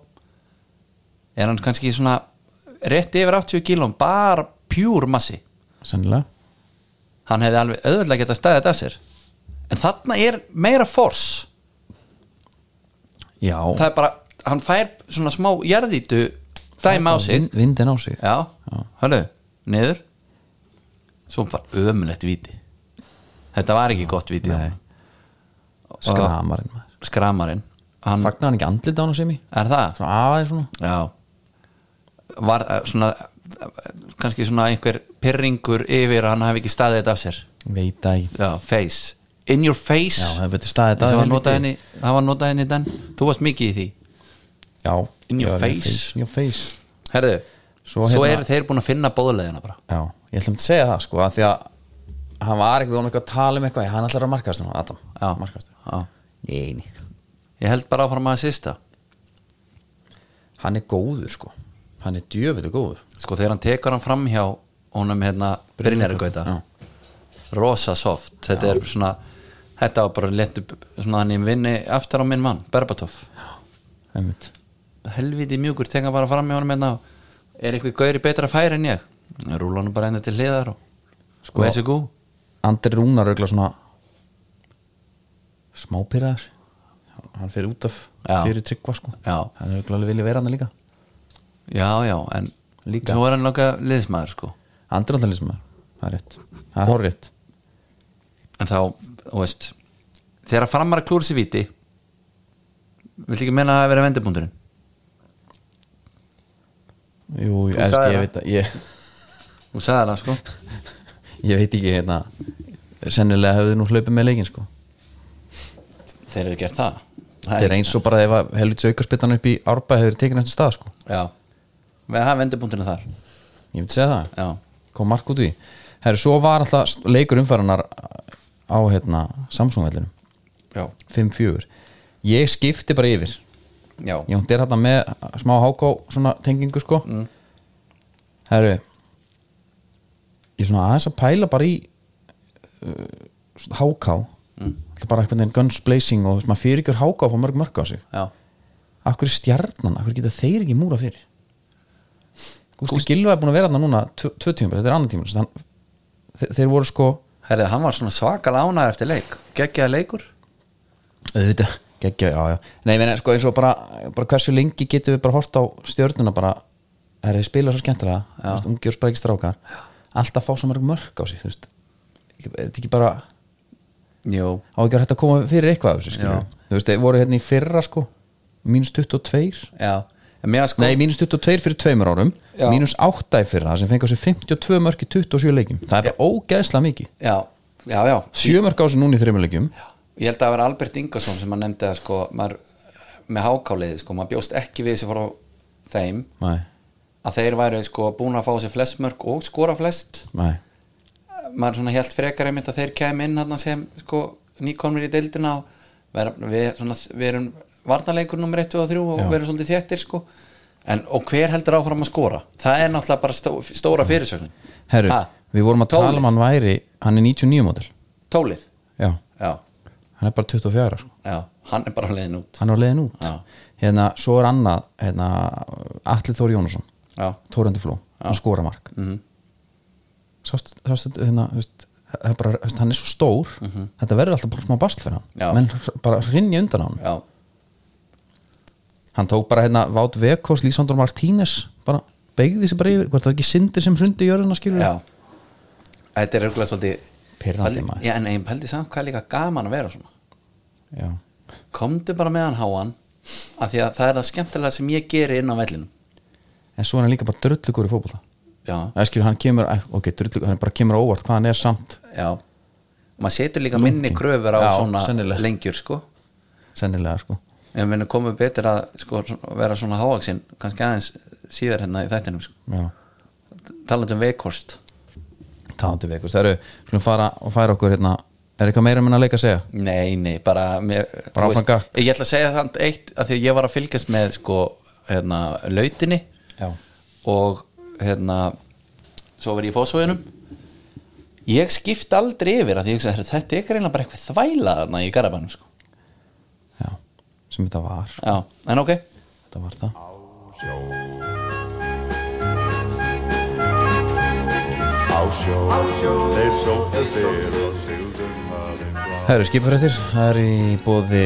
Speaker 1: er hann kannski svona rétt yfir 80 kílum bara pjúr massi
Speaker 2: sennilega
Speaker 1: hann hefði alveg auðvitað geta stæðið þetta af sér en þarna er meira force
Speaker 2: Já,
Speaker 1: það er bara, hann fær svona smá jarðítu dæma á sig
Speaker 2: vin- Vindin á sig
Speaker 1: já, hörðu, niður svo bara ömulegt viti þetta var ekki gott viti
Speaker 2: Nei, Skramarinn maður
Speaker 1: skramarinn sko. hann,
Speaker 2: Fagnar hann ekki andlit á hann sem í
Speaker 1: er það?
Speaker 2: Svona aðeins svona
Speaker 1: já var eh, svona eh, kannski svona einhver pyrringur yfir að hann hafi ekki staðið þetta af sér
Speaker 2: Veit það ekki
Speaker 1: já, face, in your face
Speaker 2: Já, það betur staðið
Speaker 1: það var
Speaker 2: helviti.
Speaker 1: notað henni það var notað henni den, þú varst mikið í því
Speaker 2: Já
Speaker 1: In your
Speaker 2: Já,
Speaker 1: face.
Speaker 2: In your face
Speaker 1: herðu,
Speaker 2: Svo
Speaker 1: svo,
Speaker 2: hérna-
Speaker 1: eru þeir búin að finna bóðulegina bara
Speaker 2: Já, ég ætlum að segja það sko að Því að hann var eitthvað, við vorum eitthvað að tala um eitthvað Hann ætlar að markast hann, Adam
Speaker 1: Já.
Speaker 2: Markast
Speaker 1: Já.
Speaker 2: Nei, nei
Speaker 1: Ég held bara áfram að sista
Speaker 2: Hann er góður sko Hann er djöfileg góður
Speaker 1: Sko þegar hann tekur hann fram hjá honum hérna Brynjari Gauta
Speaker 2: Já.
Speaker 1: Rosa soft, þetta er svona Þetta var bara léttu svona hann í vinni aftur á minn mann, Berbatov
Speaker 2: Einmitt
Speaker 1: Helviti mjúkur, tekur bara fram hjá honum hérna og Er eitthvað gauri betra færi en ég? Rúla hann bara enda til hliðar og sko,
Speaker 2: Andri Rúnar örgla svona smápyrraður hann fyrir út af
Speaker 1: Já.
Speaker 2: fyrir tryggva sko
Speaker 1: Já.
Speaker 2: hann er glæðilega vilja vera hann líka
Speaker 1: já, já, en
Speaker 2: Líka.
Speaker 1: svo er hann langa liðsmaður sko
Speaker 2: andri alltaf lýsum það er rétt það er horrið
Speaker 1: en þá, þú veist þegar að framar að klúra sér viti viltu ekki menna að vera vendipunkturinn
Speaker 2: jú, ég,
Speaker 1: Þú
Speaker 2: efst,
Speaker 1: sagðir
Speaker 2: ég
Speaker 1: það.
Speaker 2: veit að ég,
Speaker 1: þú sagði það sko
Speaker 2: ég veit ekki hérna sennilega hefðu nú hlaupið með leikin sko
Speaker 1: [LAUGHS] þeir eru gert það
Speaker 2: það er eins og bara ef að helvits aukarspittan upp í árbæð hefur tekið næstu stað sko
Speaker 1: já, við hafa vendipunkturinn þar
Speaker 2: ég myndi segja það
Speaker 1: já,
Speaker 2: kom mark út í herru, svo var alltaf leikur umfæranar á hérna Samsung-vellinum
Speaker 1: já,
Speaker 2: 5-4 ég skipti bara yfir
Speaker 1: já,
Speaker 2: ég hún er hérna með smá háká svona tengingu sko herru ég svona aðeins að pæla bara í uh, háká mm. bara eitthvað þeim guns blazing og maður fyrir ykkur háká og fá mörg mörg á sig
Speaker 1: já.
Speaker 2: af hverju er stjarnan, af hverju geta þeir ekki múra fyrir Gústi Gúst... Gilva er búin að vera þarna núna tvö tvö tímabil, þetta er annar tímabil þann, þe þeir voru sko
Speaker 1: Herrið, hann var svona svakal ánæður eftir leik geggjaði leikur
Speaker 2: auðvitað, geggja, já, já nei, meni, sko, eins og bara, bara hversu lengi getum við bara hort á stjörnuna bara það er að spila svo skemmtilega, þú veist, ungjur sprækist strákar, alltaf fá svo mörg mörg á sig, þú veist er þetta ekki bara, á
Speaker 1: Jú.
Speaker 2: ekki að hægt að koma fyrir eitthvað af þessu, skilur,
Speaker 1: Já.
Speaker 2: þú veist, þeir voru hérna í fyrra sko, mínus 22
Speaker 1: já, en mér að sko
Speaker 2: Nei, mínus 22 fyrir tveimur árum
Speaker 1: Já.
Speaker 2: mínus 8 fyrir það sem fengi á sig 52 mörg í 27 leikjum það er bara ógeðslega mikið
Speaker 1: já, já, já,
Speaker 2: 7 mörg á sig núna í þreimur leikjum
Speaker 1: ég held að það vera Albert Ingersson sem hann nefndi að sko maður, með hákáliði sko, maður bjóst ekki við þessi frá þeim
Speaker 2: Nei,
Speaker 1: að þeir væru sko búin að fá sér flest mörg og skora flest
Speaker 2: nei,
Speaker 1: maður svona helt frekar einmitt að þeir kem inn hann sem sko nýkomnir í deildina og vera, við, svona, við erum varnaleikur nummer 1 og 3 og
Speaker 2: Já.
Speaker 1: við erum svolítið þéttir sko en, og hver heldur áfram að skora það er náttúrulega bara stó, stóra fyrirsögnin
Speaker 2: Mm. herru,
Speaker 1: Ha?
Speaker 2: við vorum að tala
Speaker 1: Tólið.
Speaker 2: um hann væri hann er 99 mótil,
Speaker 1: tólið,
Speaker 2: já
Speaker 1: já,
Speaker 2: hann er bara 24 sko.
Speaker 1: já, hann er bara leiðin út
Speaker 2: hann er á leiðin út
Speaker 1: Já.
Speaker 2: hérna, svo er annað hérna, Atli Þór Jónasson
Speaker 1: já, Mhm.
Speaker 2: Tórandi Fló, hann skora mark mm -hmm. sástu, sástu hérna, þú veist, það er bara, þú veist, hann er svo stór þetta verður alltaf bara smá basl fyrir hann
Speaker 1: Mhm. Já.
Speaker 2: menn bara hrinja undan á hann
Speaker 1: já,
Speaker 2: hann tók bara hérna Vát Vekos, Lísandur Martínez bara beigði sér bara yfir hvert var ekki sindir sem hrundi í jörðina skilur
Speaker 1: já Mm. þetta er örgulega svolítið
Speaker 2: Pirrandi
Speaker 1: Pældi-
Speaker 2: maður.
Speaker 1: já, en ég pældi samt hvað er líka gaman að vera svona
Speaker 2: já.
Speaker 1: komdu bara með hann háan af því að það er það skemmtilega sem ég geri inn á vellinum
Speaker 2: en svo er hann líka bara drullugur í fótbolta
Speaker 1: já,
Speaker 2: það skilur hann kemur, eh, ok, drullugur hann bara kemur á óvart hvað hann er samt
Speaker 1: já og maður setur líka minni kröfur á
Speaker 2: Já,
Speaker 1: svona
Speaker 2: sennilega.
Speaker 1: lengjur sko
Speaker 2: sennilega sko
Speaker 1: en við komum betur að sko, svona- vera svona hávaksinn kannski aðeins síðar hérna í þættinum sko.
Speaker 2: já.
Speaker 1: talandi um veikkost
Speaker 2: talandi Vekos, það eru, skulum fara og færa okkur hérna, er eitthvað meira minna að leika að segja
Speaker 1: nei, nei, bara, mér,
Speaker 2: Bara
Speaker 1: þú
Speaker 2: áfram gakk.
Speaker 1: ég ætla að segja þannig eitt af því að ég var að fylgjast með sko, hérna, lautinni
Speaker 2: já,
Speaker 1: og hérna svo verið ég í fósfóðunum ég skipt aldrei yfir að því ég hugsa "Herra, þetta er greinlega bara eitthvað þvæla þarna í garabænum sko.
Speaker 2: já, sem þetta var sko.
Speaker 1: já, en ok
Speaker 2: þetta var það
Speaker 7: Þeir sóttu sér og sigðu maður
Speaker 2: Herru, skipfrættir, það er í bóði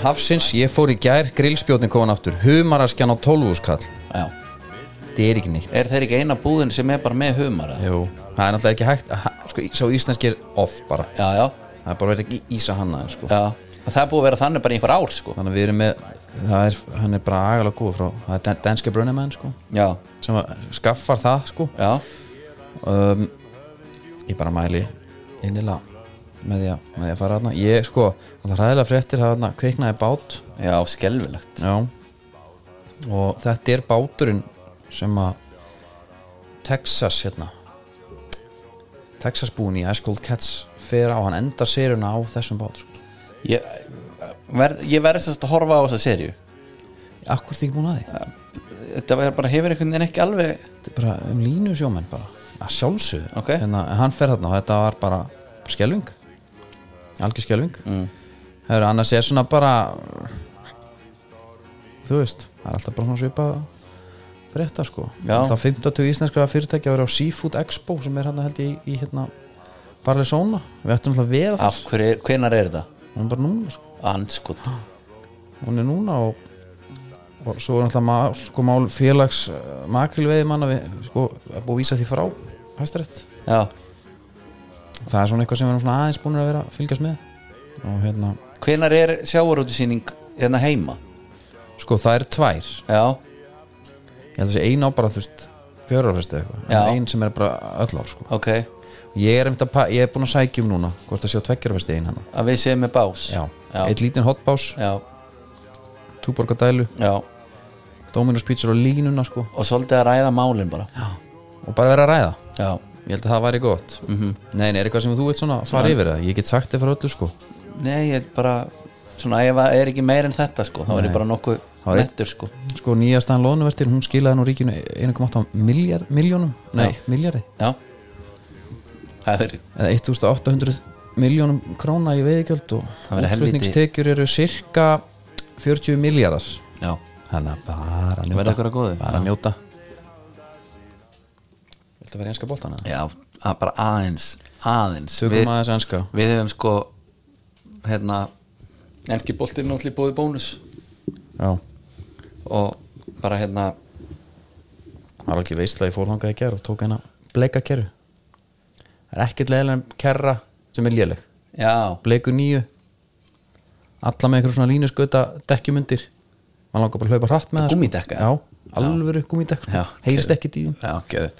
Speaker 2: Hafsins, ég fór í gær, grillspjótin komin aftur, humaraskjan á 12 skall
Speaker 1: já.
Speaker 2: það er ekki nýtt
Speaker 1: er þeir ekki eina búðin sem er bara með humar eða?
Speaker 2: Jú, það er náttúrulega ekki hægt ha, sko, í- sá íslenski er off bara
Speaker 1: já, já,
Speaker 2: það er bara verið ekki ísa hanna en, sko.
Speaker 1: já Og það er búið að vera þannig bara í einhver ár sko.
Speaker 2: þannig að við erum með það er, hann er bara agalega góð frá það er Dan- danske brunnimann sko,
Speaker 1: já,
Speaker 2: sem að skaffar það sko.
Speaker 1: já,
Speaker 2: um, ég bara mæli innilega með því að, með því að fara hana ég sko, það er ræðilega fréttir það hana kveiknaði bát
Speaker 1: já, skelfilegt
Speaker 2: Já og þetta er báturinn sem að Texas hérna Texas búin í Ice Cold Cats fer á, hann endar séruna á þessum bát sko.
Speaker 1: ég verð, ég verð semst að horfa á þessa serju
Speaker 2: Akkur þið ekki búin að því
Speaker 1: þetta er bara hefur einhvern veginn ekki alveg
Speaker 2: Eh, Þetta er bara um línu sjómenn bara að sjálfsögðu,
Speaker 1: Ok.
Speaker 2: hérna, en hann fer þarna og þetta var bara skelving algjör skelving mm. Hefur, annars er svona bara þú veist, það er alltaf bara svona svipað frétta sko
Speaker 1: Já.
Speaker 2: alltaf 50 íslenskra fyrirtæki að vera á Seafood Expo sem er hann held ég í, í hérna Barlesona, við ættum alltaf að vera það
Speaker 1: af hverju, hvenar er þetta?
Speaker 2: það er bara núna sko
Speaker 1: anskot
Speaker 2: hún er núna og, og svo er náttúrulega mál, sko, mál félags makrilveiði manna við, sko, að búið að vísa því frá hæstarétt
Speaker 1: já,
Speaker 2: það er svona eitthvað sem við erum svona aðeins búin að vera að fylgjast með og hérna,
Speaker 1: hvenar er sjávarútisýning hérna heima
Speaker 2: sko það eru tvær
Speaker 1: já,
Speaker 2: ég held að sé ein á bara þú veist fjörurfesti eða eitthvað,
Speaker 1: Já.
Speaker 2: en ein sem er bara öll ár sko.
Speaker 1: ok
Speaker 2: ég er, einmitt að pa- ég er búin að sækja um núna hvort að sjá tveggjurfesti ein hana
Speaker 1: að við séum með bás
Speaker 2: já,
Speaker 1: já,
Speaker 2: eitt lítinn hotbás,
Speaker 1: já,
Speaker 2: túborgadælu
Speaker 1: já.
Speaker 2: Dominos pítsur og línuna sko
Speaker 1: og svolítið að ræða málin bara já,
Speaker 2: og bara vera að ræða
Speaker 1: já.
Speaker 2: ég held að það væri gott mm -hmm. nei, nei, er eitthvað sem þú vilt svona fara yfir það ég get sagt þér frá öllu sko
Speaker 1: nei, ég er bara svona ef það er ekki meir en þetta sko, þá er ég bara nokkuð
Speaker 2: Það er-
Speaker 1: nettur sko
Speaker 2: sko nýjastaðan loðnuvertir, hún skilaði nú ríkinu 1,8 miljard, miljónum nei,
Speaker 1: Já.
Speaker 2: miljardi,
Speaker 1: já það er
Speaker 2: eða 1800 miljónum króna í veiðgjöld og
Speaker 1: Það verður helvíti.
Speaker 2: útflutningstekjur eru cirka 40 miljardar
Speaker 1: já,
Speaker 2: þannig að bara að
Speaker 1: verða
Speaker 2: njóta
Speaker 1: ykkur að góðu
Speaker 2: bara að njóta Viltu að vera í enska boltan eða?
Speaker 1: já, að bara aðeins aðeins
Speaker 2: Tökum
Speaker 1: Við-
Speaker 2: aðeins enska
Speaker 1: Við hefum sko hérna enski boltinn náttúrulega búið bónus
Speaker 2: Já,
Speaker 1: og bara hérna
Speaker 2: það var ekki veistlega ég fór þangað í gerð og tók eina bleika kerru Það er ekkert leiðilega en kerra sem er léleg
Speaker 1: já,
Speaker 2: bleiku nýju alla með einhverjum svona línusgöta dekkjumundir maður langar bara að hlaupa hratt með það sko.
Speaker 1: Gúmmídekka?
Speaker 2: já, alvöru gúmídekka
Speaker 1: já
Speaker 2: sko. heyrist ekkert í þeim
Speaker 1: já, okay.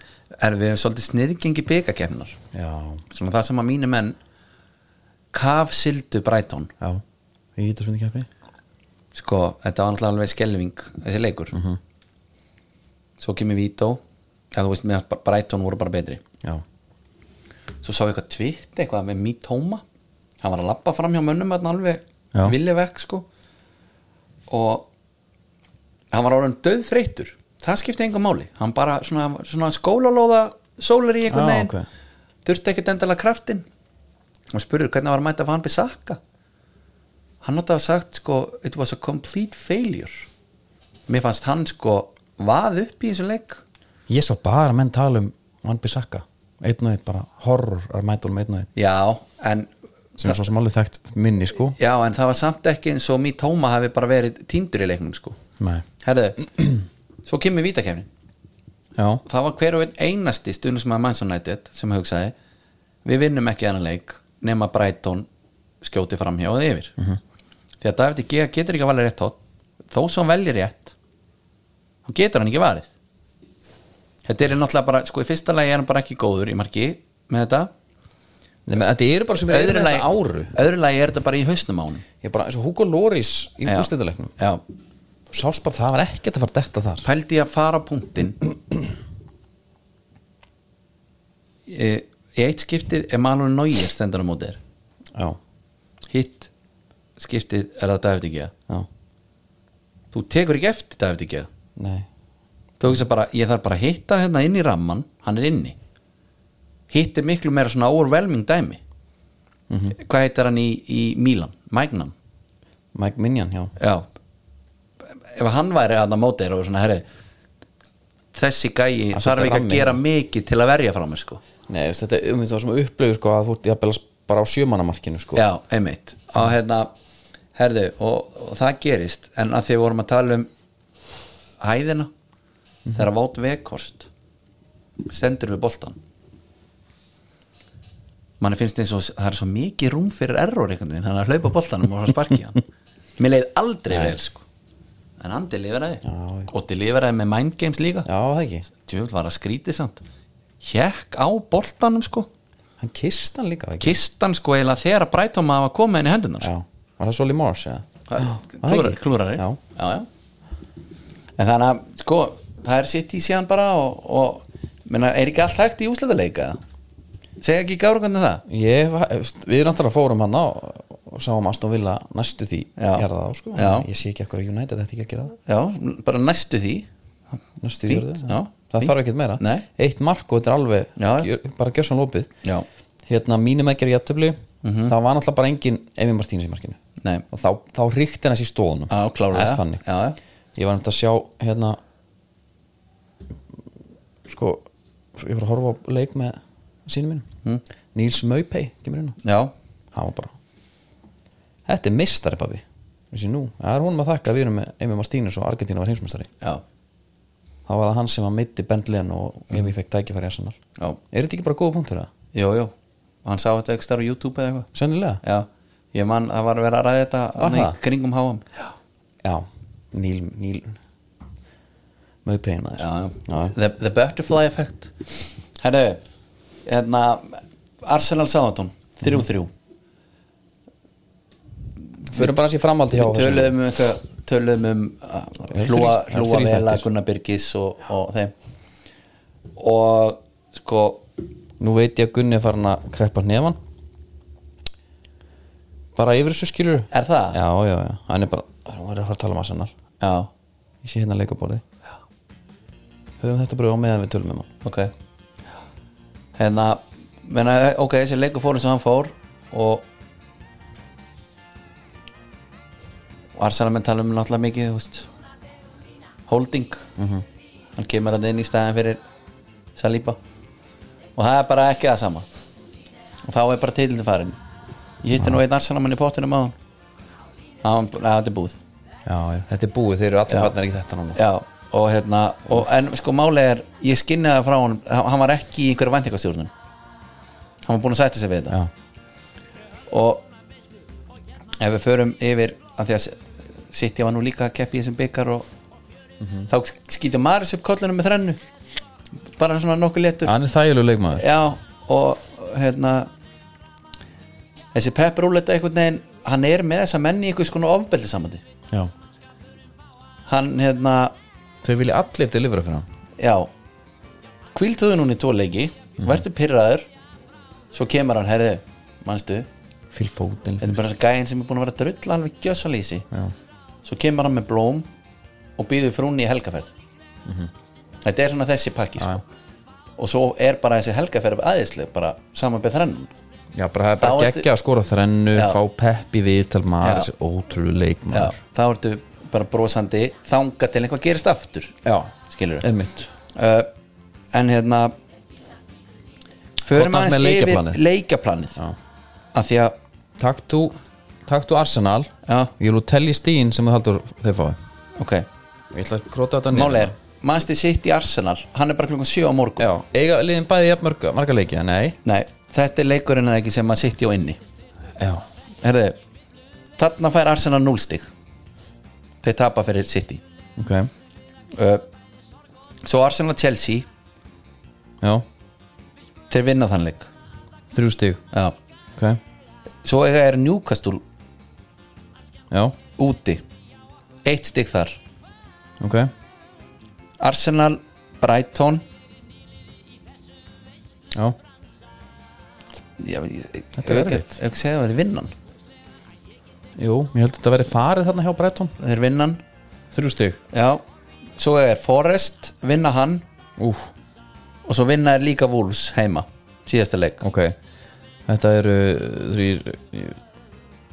Speaker 1: er við hefum svolítið sniðgengi byggakefnar
Speaker 2: já,
Speaker 1: svona það sem að mínu menn kafsildu Brighton
Speaker 2: já, ég getur svona keppi
Speaker 1: sko, þetta var náttúrulega alveg skelving þessi leikur svo kemur Vító eða þú veist, mér fannst bara- Brighton voru bara betri
Speaker 2: já,
Speaker 1: svo sá ég eitthvað tvitt eitthvað með Mítóma hann var að labba fram hjá mönnum hann alveg
Speaker 2: Já.
Speaker 1: villi vekk sko og hann var orðin döð þreytur það skipti enga máli hann bara svona, svona skólalóða sólar í einhvern
Speaker 2: Já,
Speaker 1: veginn
Speaker 2: Ah, ok.
Speaker 1: þurfti ekkert endalega kraftin og spurður hvernig hann var að mæta fann Bissaka hann átti að hafa sagt sko it was a complete failure mér fannst hann sko vað upp í þessu leik
Speaker 2: ég sá bara menn tala um Van Bissaka, einn og einn bara horror að mæta um einn og einn
Speaker 1: já en
Speaker 2: sem er svo sem alveg þekkt minni sko
Speaker 1: Já, en það var samt ekki eins og Mítóma hafi bara verið týndur í leiknum sko
Speaker 2: Nei.
Speaker 1: Herðu, [CLEARS THROAT] svo kemur vítakefni
Speaker 2: já,
Speaker 1: Það var hver og einn einasti stundum sem að Manson United sem hugsaði Við vinnum ekki annan leik nema Brighton skjóti framhjá og yfir
Speaker 2: Mhm.
Speaker 1: Því að David G. getur ekki að valja rétt hótt Þó sem hann velji rétt Þá getur hann ekki varið Þetta er náttúrulega bara, sko í fyrsta lagi er hann bara ekki góður í marki með þetta
Speaker 2: Nei, menn, þetta eru bara sem eru með þessa áru
Speaker 1: öðru lagi er þetta bara í hausnum á hann
Speaker 2: ég bara eins og Hugo Loris í úrslitaleiknum
Speaker 1: Já,
Speaker 2: þú sást bara það var ekkert að fara detta þar
Speaker 1: pældi ég að fara á punktin e, í eitt skiptið er Malur Nóir stendur á móti þér
Speaker 2: já,
Speaker 1: hitt skiptið er það David Gea
Speaker 2: já,
Speaker 1: þú tekur ekki eftir David Gea
Speaker 2: nei
Speaker 1: þú hugsa bara, ég þarf bara að hitta hérna inn í ramman hann er inni hitt er miklu meira svona overwhelming dæmi hvað heitir hann í, í Milan, Magnum
Speaker 2: Mike Minion, já
Speaker 1: já ef hann væri hann að móti þér og svona herri þessi gæi
Speaker 2: Að
Speaker 1: þarf
Speaker 2: setja
Speaker 1: ekki að
Speaker 2: ramminn.
Speaker 1: gera mikið til að verja frá mig sko
Speaker 2: Nei, veist, þetta er um þetta var svona upplöfu sko, að þú ert jafnvel bara á sjömanamarkinu sko.
Speaker 1: já, einmitt og hérna, herðu, og, og það gerist en að því við vorum að tala um hæðina
Speaker 2: Mhm.
Speaker 1: þegar vót vekkost stendur við boltan manni finnst eins og það er svo mikið rúm fyrir error einhvern veginn, hann er að hlaupa boltanum og sparkja
Speaker 2: [LAUGHS]
Speaker 1: hann mér leið aldrei vel sko en Andi lifraði
Speaker 2: Já, já.
Speaker 1: og til lifraði með Mind Games líka
Speaker 2: já, það ekki
Speaker 1: djöfull var að skrítið samt hjekk á boltanum sko
Speaker 2: Hann kist hann líka, það ekki
Speaker 1: kistan sko eiginlega þegar að Brighton maður að koma henni í hendunar
Speaker 2: Já,
Speaker 1: sko.
Speaker 2: var það Soli Mars, já Já, það
Speaker 1: klúrari,
Speaker 2: ekki?
Speaker 1: klúrari.
Speaker 2: Já,
Speaker 1: Já, já. en þannig að sko það er sitt í síðan bara og, og menna, er ekki allt hægt í úslitaleika segja ekki gáru hvernig það
Speaker 2: ég var, veist, við náttúrulega fórum hann á og sáum Aston Villa næstu því
Speaker 1: Já.
Speaker 2: gerða það, sko
Speaker 1: Já.
Speaker 2: Ég sé ekki ekkur að United ætti ekki að gera
Speaker 1: já, bara næstu því
Speaker 2: það Næstu því
Speaker 1: Fínt,
Speaker 2: gerðu,
Speaker 1: já,
Speaker 2: Það
Speaker 1: fínt.
Speaker 2: þarf ekkert meira
Speaker 1: Nei.
Speaker 2: Eitt mark og þetta er alveg
Speaker 1: Já, já.
Speaker 2: gjör, bara gjössan lópið
Speaker 1: já, Mhm.
Speaker 2: Hérna, mínum ekkert jættöfli mm Það var náttúrulega bara engin Emi Martínez í markinu
Speaker 1: nei,
Speaker 2: og þá, þá ríkti hann þessi í stóðunum
Speaker 1: já, klárlega
Speaker 2: Það er þannig
Speaker 1: já, já.
Speaker 2: ég var nefnt að sjá hérna sko ég var að horfa á leik með
Speaker 1: Hmm.
Speaker 2: sínum mínum Níls Maupay kemur inn á
Speaker 1: já,
Speaker 2: hann var bara Þetta er meistari pabbi Vissi nú, það er honum að þakka að við erum með Emi Martínus og Argentína var heimsmeistari
Speaker 1: já,
Speaker 2: Það var það hann sem að meiti Bendlin og
Speaker 1: Hmm.
Speaker 2: Emi fekk tækifæri Arsenal
Speaker 1: já,
Speaker 2: Er þetta ekki bara góða punktur það?
Speaker 1: jú, jú hann sá þetta ekki starf á YouTube eða eitthvað
Speaker 2: Sennilega?
Speaker 1: já, ég man að var að vera að ræða þetta
Speaker 2: Var
Speaker 1: þarna í
Speaker 2: það?
Speaker 1: kringum háam já,
Speaker 2: Já, Níl, Níl Möðpegin aðeins
Speaker 1: já.
Speaker 2: Já.
Speaker 1: The, the butterfly effect herru, hérna Arsenal Sáðantón, 3-3
Speaker 2: Fyrir bara að sé framhaldi hjá
Speaker 1: við
Speaker 2: þessu.
Speaker 1: töluðum um eitthvað töluðum um að hlúa,
Speaker 2: Já, þrír- já,
Speaker 1: hlúa
Speaker 2: þrír
Speaker 1: vel að
Speaker 2: þættir.
Speaker 1: Gunnar Birgis og, og þeim og sko
Speaker 2: Nú veit ég að Gunni er farin að kreppa hnefann Bara yfir þessu skilur
Speaker 1: er það?
Speaker 2: Já, já, já, hann er bara Hann er að fara að tala um Arsenal
Speaker 1: já,
Speaker 2: Ég sé hérna leikabóli Höfum þetta bara á meðan við tölum um hann
Speaker 1: ok hérna menna, ok, þessi leikur fór eins og hann fór og og Arsenal menn tala um náttúrulega mikið þú veist, holding hann kemur hann inn í staðin fyrir Saliba og það er bara ekki það sama og þá er bara titillin farin ég hitti nú einn Arsenal mann í pottinum á hann það er búið
Speaker 2: Já, já, þetta er búið, þeir eru allir farnir ekki þetta núna
Speaker 1: Já, og hérna og, En sko málið er, ég skinni það frá hann Hann var ekki í einhverju væntingastjórnum Hann var búin að sætta sig við þetta
Speaker 2: Já,
Speaker 1: Og ef við förum yfir að Því að City var nú líka að keppi í þessum byggar og þá skýtur Maris upp kollunum með þrennu bara svona nokkuð letur
Speaker 2: hann er þægjulegu leikmaður
Speaker 1: Já, og hérna þessi Pep Rúleta einhvern veginn, hann er með þessa menni í einhvers konar ofbeldi samandi
Speaker 2: Já,
Speaker 1: hann hérna,
Speaker 2: þau vilja allir delivera fyrir hann
Speaker 1: já kvílduðu núna í tvo leiki verður pyrraður svo kemur hann, herri, manstu
Speaker 2: Fyll fótinn
Speaker 1: þetta er bara þessi gæinn sem er búin að vera að drulla alveg gjössalísi svo kemur hann með blóm og býður frúnni í helgaferð þetta er svona þessi pakki sko. og svo er bara þessi helgaferð aðeinsleg, bara saman beð þrennum
Speaker 2: Já, bara það er bara
Speaker 1: Þá ertu-
Speaker 2: geggja að skora þrennu
Speaker 1: Já.
Speaker 2: Fá peppi viðtal maður
Speaker 1: Já.
Speaker 2: Þessi ótrúlu
Speaker 1: já,
Speaker 2: leikmaður
Speaker 1: þá ertu bara brosandi þanga til eitthvað gerist aftur
Speaker 2: Já,
Speaker 1: skilur við
Speaker 2: einmitt
Speaker 1: uh, en hérna förum
Speaker 2: Hvað fannst
Speaker 1: aðeins
Speaker 2: með
Speaker 1: yfir
Speaker 2: leikjaplanið?
Speaker 1: leikjaplanið
Speaker 2: Já.
Speaker 1: af því að
Speaker 2: Takk þú, takk þú Arsenal
Speaker 1: Já.
Speaker 2: Ég vil telja stíin sem þú haldur þeir fái
Speaker 1: ok,
Speaker 2: Ég ætla að króta þetta niður.
Speaker 1: málið er Manchester City Arsenal, hann er bara klukkan 7 á morgun
Speaker 2: Já, eiga liðin bæði jafn marga, marga leiki eða Nei
Speaker 1: nei, þetta er leikurinn eða ekki sem að City á inni
Speaker 2: Já
Speaker 1: herðu, þarna fær Arsenal 0 stig þeir tapa fyrir City
Speaker 2: Ok Já
Speaker 1: uh, svo Arsenal Chelsea þeir vinna þann leik
Speaker 2: Þrjú stig
Speaker 1: já.
Speaker 2: Ok
Speaker 1: svo eiga er Newcastle
Speaker 2: Já
Speaker 1: úti eitt stig þar
Speaker 2: Ok
Speaker 1: Arsenal, Brighton
Speaker 2: Já
Speaker 1: já, ég, ég,
Speaker 2: Þetta er
Speaker 1: ég-
Speaker 2: erfitt.
Speaker 1: ég- ég segja það er vinnan
Speaker 2: Jú, ég held að þetta verið farið þarna hjá Breton
Speaker 1: þeir vinnan,
Speaker 2: Þrjú stig
Speaker 1: já svo er Forrest, vinna hann
Speaker 2: Úf
Speaker 1: og svo vinna er líka Wolves heima síðasta leik
Speaker 2: Ok Þetta eru þrýr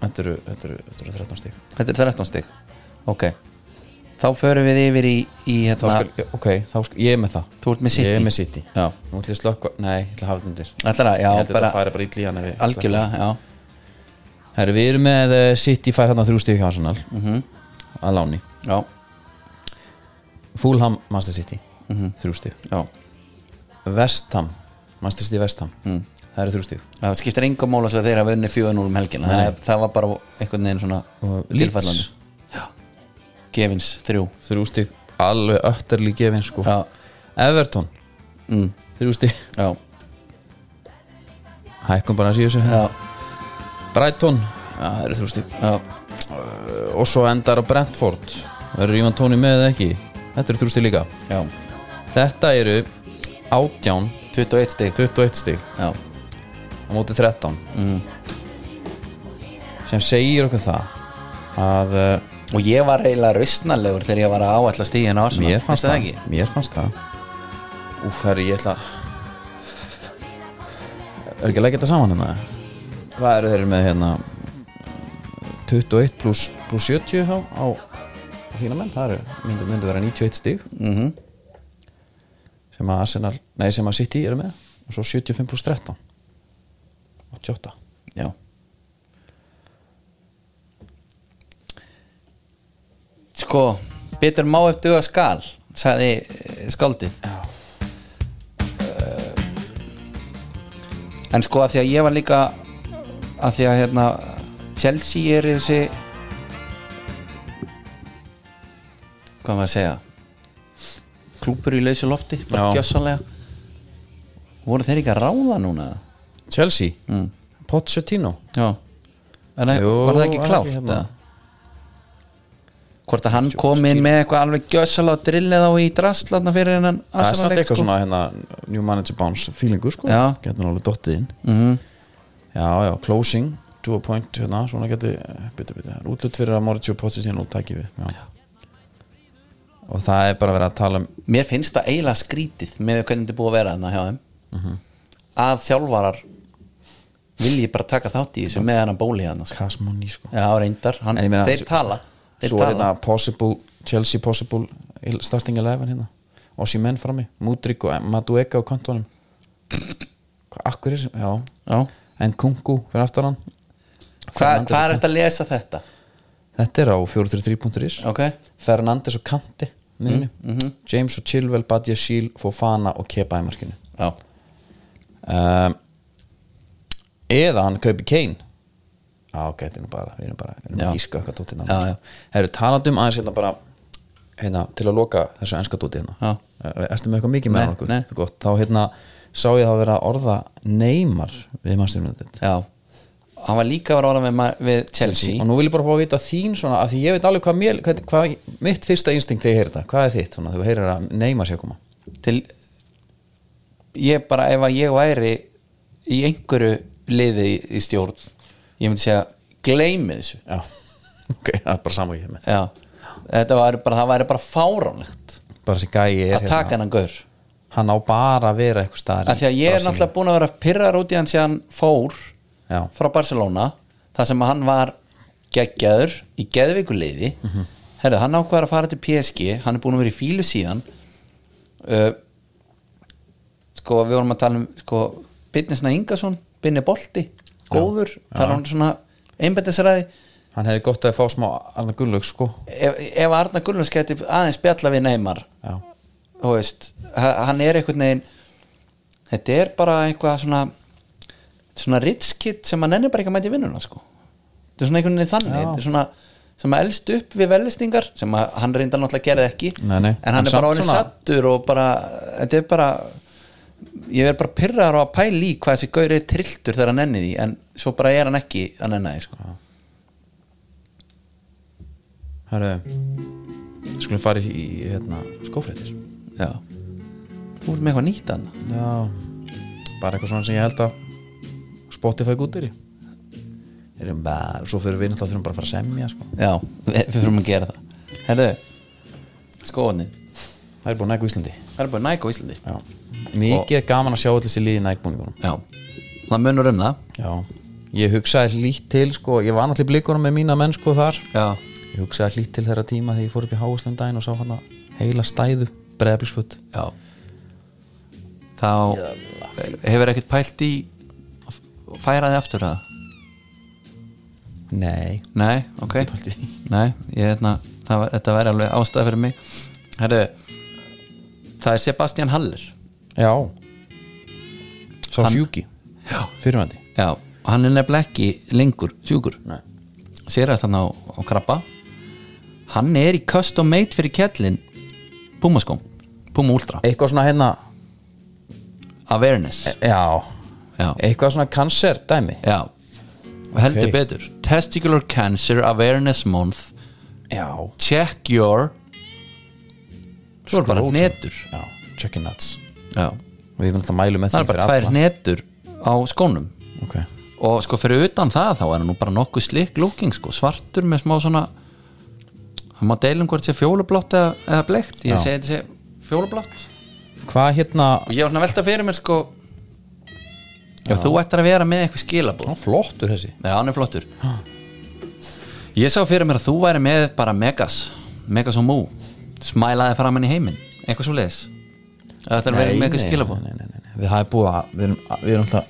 Speaker 2: Þetta eru, þetta eru, þetta eru 13 stig
Speaker 1: þetta er 13 stig ok, þá förum við yfir í, í
Speaker 2: Þá
Speaker 1: hérna,
Speaker 2: skal, ok, þá skal, ég er með það
Speaker 1: þú ert með City
Speaker 2: Ég er með City
Speaker 1: já,
Speaker 2: Nú ætlum ég að slökka, nei, ég ætla að hafa þetta undir
Speaker 1: ætlar að,
Speaker 2: Ég
Speaker 1: já,
Speaker 2: held að þetta
Speaker 1: bara
Speaker 2: færi bara ítli hann
Speaker 1: algjörlega, já,
Speaker 2: Herru, við erum með eh, City fær hérna þrjú stík hjá Arsenal að láni
Speaker 1: já,
Speaker 2: Fulham, Manchester City, þrjú stík
Speaker 1: já
Speaker 2: Vestham, Manchester City Vestham það eru þrjú stík
Speaker 1: það skiptir engum mála svo að þeir hafa vunni 4-0 um helgina það, er- það var bara einhvern veginn svona
Speaker 2: Og Leeds.
Speaker 1: tilfællandi Gefins, 3
Speaker 2: þrjú stík, alveg ötterli gefin sko
Speaker 1: já,
Speaker 2: Everton,
Speaker 1: mm,
Speaker 2: þrjú stík
Speaker 1: já,
Speaker 2: hækkum bara að síðu þessu
Speaker 1: já,
Speaker 2: Brighton, já, það eru þrjú stík
Speaker 1: já
Speaker 2: og svo endar á Brentford verður Ivan Tóni með eða ekki þetta eru þrjú stík líka
Speaker 1: Já,
Speaker 2: þetta eru 18,
Speaker 1: 21 stig
Speaker 2: 21 stík
Speaker 1: Já,
Speaker 2: á móti 13 sem segir okkur það að uh,
Speaker 1: og ég var eiginlega rausnalegur þegar ég var að áætla stíðin á Arsenal
Speaker 2: mér fannst
Speaker 1: Veistu
Speaker 2: það,
Speaker 1: ekki?
Speaker 2: mér fannst það úf, herri, ég ætla er ekki að leggja þetta saman hérna hvað eru þeir með hérna 21 pluss plus 70 á, á þína menn, það eru myndu, myndu vera 91 stig
Speaker 1: Mm
Speaker 2: sem að Arsenal, nei sem að City eru með og svo 75 pluss 13 88
Speaker 1: Já, sko, betur má ef duga skal sagði eh, skáldið Eh, en sko að því að ég var líka að því að hérna Chelsea er þessi hvað maður að segja klúpur í lausu lofti bara
Speaker 2: Já.
Speaker 1: gjössanlega voru þeir ekki að ráða núna
Speaker 2: Chelsea,
Speaker 1: mm.
Speaker 2: Pochettino
Speaker 1: já en Jú,
Speaker 2: Jú,
Speaker 1: var það ekki
Speaker 2: var
Speaker 1: klárt
Speaker 2: ekki hérna.
Speaker 1: hérna. hvort að hann kom inn með eitthvað alveg gjössalega og drillið á í drastlarna fyrir hennan
Speaker 2: það er samt
Speaker 1: Arsenal-leik,
Speaker 2: eitthvað
Speaker 1: sko.
Speaker 2: svona hérna, new manager bounce feelingur sko,
Speaker 1: Já.
Speaker 2: getur alveg dottið inn
Speaker 1: Mhm.
Speaker 2: já, já, closing to a point, hérna, svona geti bitu, bitu, útlut fyrir að Mauricio Pochettino tæki við, já. og það er bara verið að tala um
Speaker 1: mér finnst það eiginlega skrítið með hvernig þetta er búið að vera þarna hjá þeim
Speaker 2: Mhm.
Speaker 1: að þjálfarar vilji bara taka þátt í þessu með hennan bóli hérna sko.
Speaker 2: Kasmoni, sko
Speaker 1: já, reyndar, hann,
Speaker 2: En ég meina,
Speaker 1: þeir
Speaker 2: svo-
Speaker 1: tala þeir
Speaker 2: svo er
Speaker 1: tala,
Speaker 2: hérna possible, Chelsea possible il- starting 11 hérna Ossi menn frammi, Mudrik og Madueka og kontónum hvað, akkur er, já
Speaker 1: Já.
Speaker 2: en Kungu fyrir aftan hann
Speaker 1: hvað hva er þetta að lesa þetta
Speaker 2: þetta er á 433.is
Speaker 1: ok,
Speaker 2: Fernandes og Kanti mm -hmm. James og Chilwell, Badia Shiel Fofana og Kepa í markinu
Speaker 1: já,
Speaker 2: um, eða hann kaupi Kane á, ok, þetta er nú bara við erum bara, við erum
Speaker 1: Já.
Speaker 2: að gíska eitthvað dótið
Speaker 1: Já,
Speaker 2: það eru talandum aðeins hérna bara hérna, til að loka þessu enska dótið
Speaker 1: Já.
Speaker 2: hérna. Eh, ertu með eitthvað mikið með
Speaker 1: Nei,
Speaker 2: hann okkur?
Speaker 1: nei.
Speaker 2: Það er gott. þá hérna sá ég það að vera að orða neymar við mannstir minútið
Speaker 1: já hann var líka að vara með, ma- við Chelsea,
Speaker 2: og nú vil ég bara fá að vita þín svona, að því ég veit alveg hvað, mér, hvað, hvað mitt fyrsta instinkt þegar ég heyri þetta, hvað er þitt svona, þegar þú heyrir að neymar sé að koma
Speaker 1: til ég bara, ef að ég væri í einhverju liði í, í stjórn ég myndi segja, gleymi þessu
Speaker 2: já, [LAUGHS] ok, það er bara sama ég með
Speaker 1: já, þetta var bara, það væri bara fáránlegt
Speaker 2: bara þessi gæi er hérna.
Speaker 1: að taka hennan gaur
Speaker 2: hann á bara að vera eitthvað staðar
Speaker 1: að því að ég er náttúrulega búin að vera pyrrar út í hann síðan fór
Speaker 2: Já.
Speaker 1: frá Barcelona þar sem að hann var geggjaður í geðvikuleiði mm -hmm. herðu, hann ákvaðar að fara til PSG hann er búin að vera í fílu síðan uh, sko við vorum að tala um sko, Binni Sna Ingason, Binni Bolti góður, tala um svona einbættisræði
Speaker 2: hann hefði gott að fá smá Arna Gullug sko
Speaker 1: ef, ef Arna Gullnars geti aðeins spjalla við Neymar
Speaker 2: já,
Speaker 1: þú veist, h- hann er einhvern veginn þetta er bara eitthvað svona svona ritskitt sem hann ennir bara ekki að mæti vinnuna sko. þetta er svona einhvern veginn þannig
Speaker 2: Já.
Speaker 1: þetta er svona sem að elst upp við velistingar sem að hann reyndar náttúrulega gerði ekki
Speaker 2: Nei, nei.
Speaker 1: en hann
Speaker 2: En
Speaker 1: er bara
Speaker 2: samt
Speaker 1: orðin
Speaker 2: svona-
Speaker 1: sattur og bara, þetta er bara ég er bara pyrrar og að pæla í hvað þessi gaur er trilltur þegar hann enni því en svo bara er hann ekki að nenni því sko.
Speaker 2: herru skulum fara í, í hérna, skófréttir
Speaker 1: já þú ert með eitthvað nýtt hann
Speaker 2: já, bara eitthvað svona sem ég held að Spotify gútir í erum bara, svo fyrir við náttúrulega þurfum bara að fara að semja sko.
Speaker 1: já, við, við fyrir að gera það herðu, skoðanir
Speaker 2: það er búin næg á Íslandi
Speaker 1: Það er bara Nike á Íslandi
Speaker 2: já. mikið er gaman að sjá allir sér liði nægbúningunum
Speaker 1: Já, það munur um það
Speaker 2: já, ég hugsaði lít til sko, ég var náttúrulega í blikunum með mína menn sko þar
Speaker 1: Já,
Speaker 2: ég hugsaði lít til þeirra tíma þegar ég fór upp í háslundaginn og sá hann að heila stæðu breyðblisfutt
Speaker 1: já Þá hefur ekkert pælt í að færa þið aftur að
Speaker 2: nei,
Speaker 1: Nei, ok
Speaker 2: pælt í því.
Speaker 1: Nei, ég hefna, það, var- þetta væri alveg ástæða fyrir mig Herðu Það er Sebastian Haller
Speaker 2: Já Sá sjúki
Speaker 1: Já.
Speaker 2: Fyrirvændi
Speaker 1: Já, hann er nefnilega ekki lengur sjúkur
Speaker 2: Nei.
Speaker 1: Sérast hann á, á krabba Hann er í custom made fyrir kettlin Pumaskóm Puma Ultra
Speaker 2: Eitthvað svona hérna
Speaker 1: Awareness
Speaker 2: Já
Speaker 1: Já.
Speaker 2: Eitthvað svona cancer dæmi
Speaker 1: Já, heldur
Speaker 2: Ok.
Speaker 1: betur Testicular Cancer Awareness Month
Speaker 2: Já
Speaker 1: Check your Svo er bara
Speaker 2: Scrotum.
Speaker 1: hnetur
Speaker 2: Já Chicken nuts
Speaker 1: Já,
Speaker 2: Og ég vil alltaf mælu
Speaker 1: það
Speaker 2: með því
Speaker 1: er bara tvær hnetur á skónum
Speaker 2: Ok
Speaker 1: og sko fyrir utan það þá er hann nú bara nokkuð slik looking sko, svartur með smá svona hann má deilum hvort sé fjólublátt eða, eða bleikt, ég
Speaker 2: Já.
Speaker 1: segi þetta sé fjólublátt
Speaker 2: Hvað hérna
Speaker 1: og ég var svona að velta fyrir mér sko ef þú ættir að vera með eitthvað skilabóð
Speaker 2: Ná, Flottur þessi
Speaker 1: Já, hann er flottur Ég sá fyrir mér að þú væri með bara Megas, Megas og Mú smælaði fram henni heiminn, eitthvað svo leis Þetta er verið með eitthvað skilabóð
Speaker 2: nei, nei, nei, nei. Við það er búið að Við erum, við erum alltaf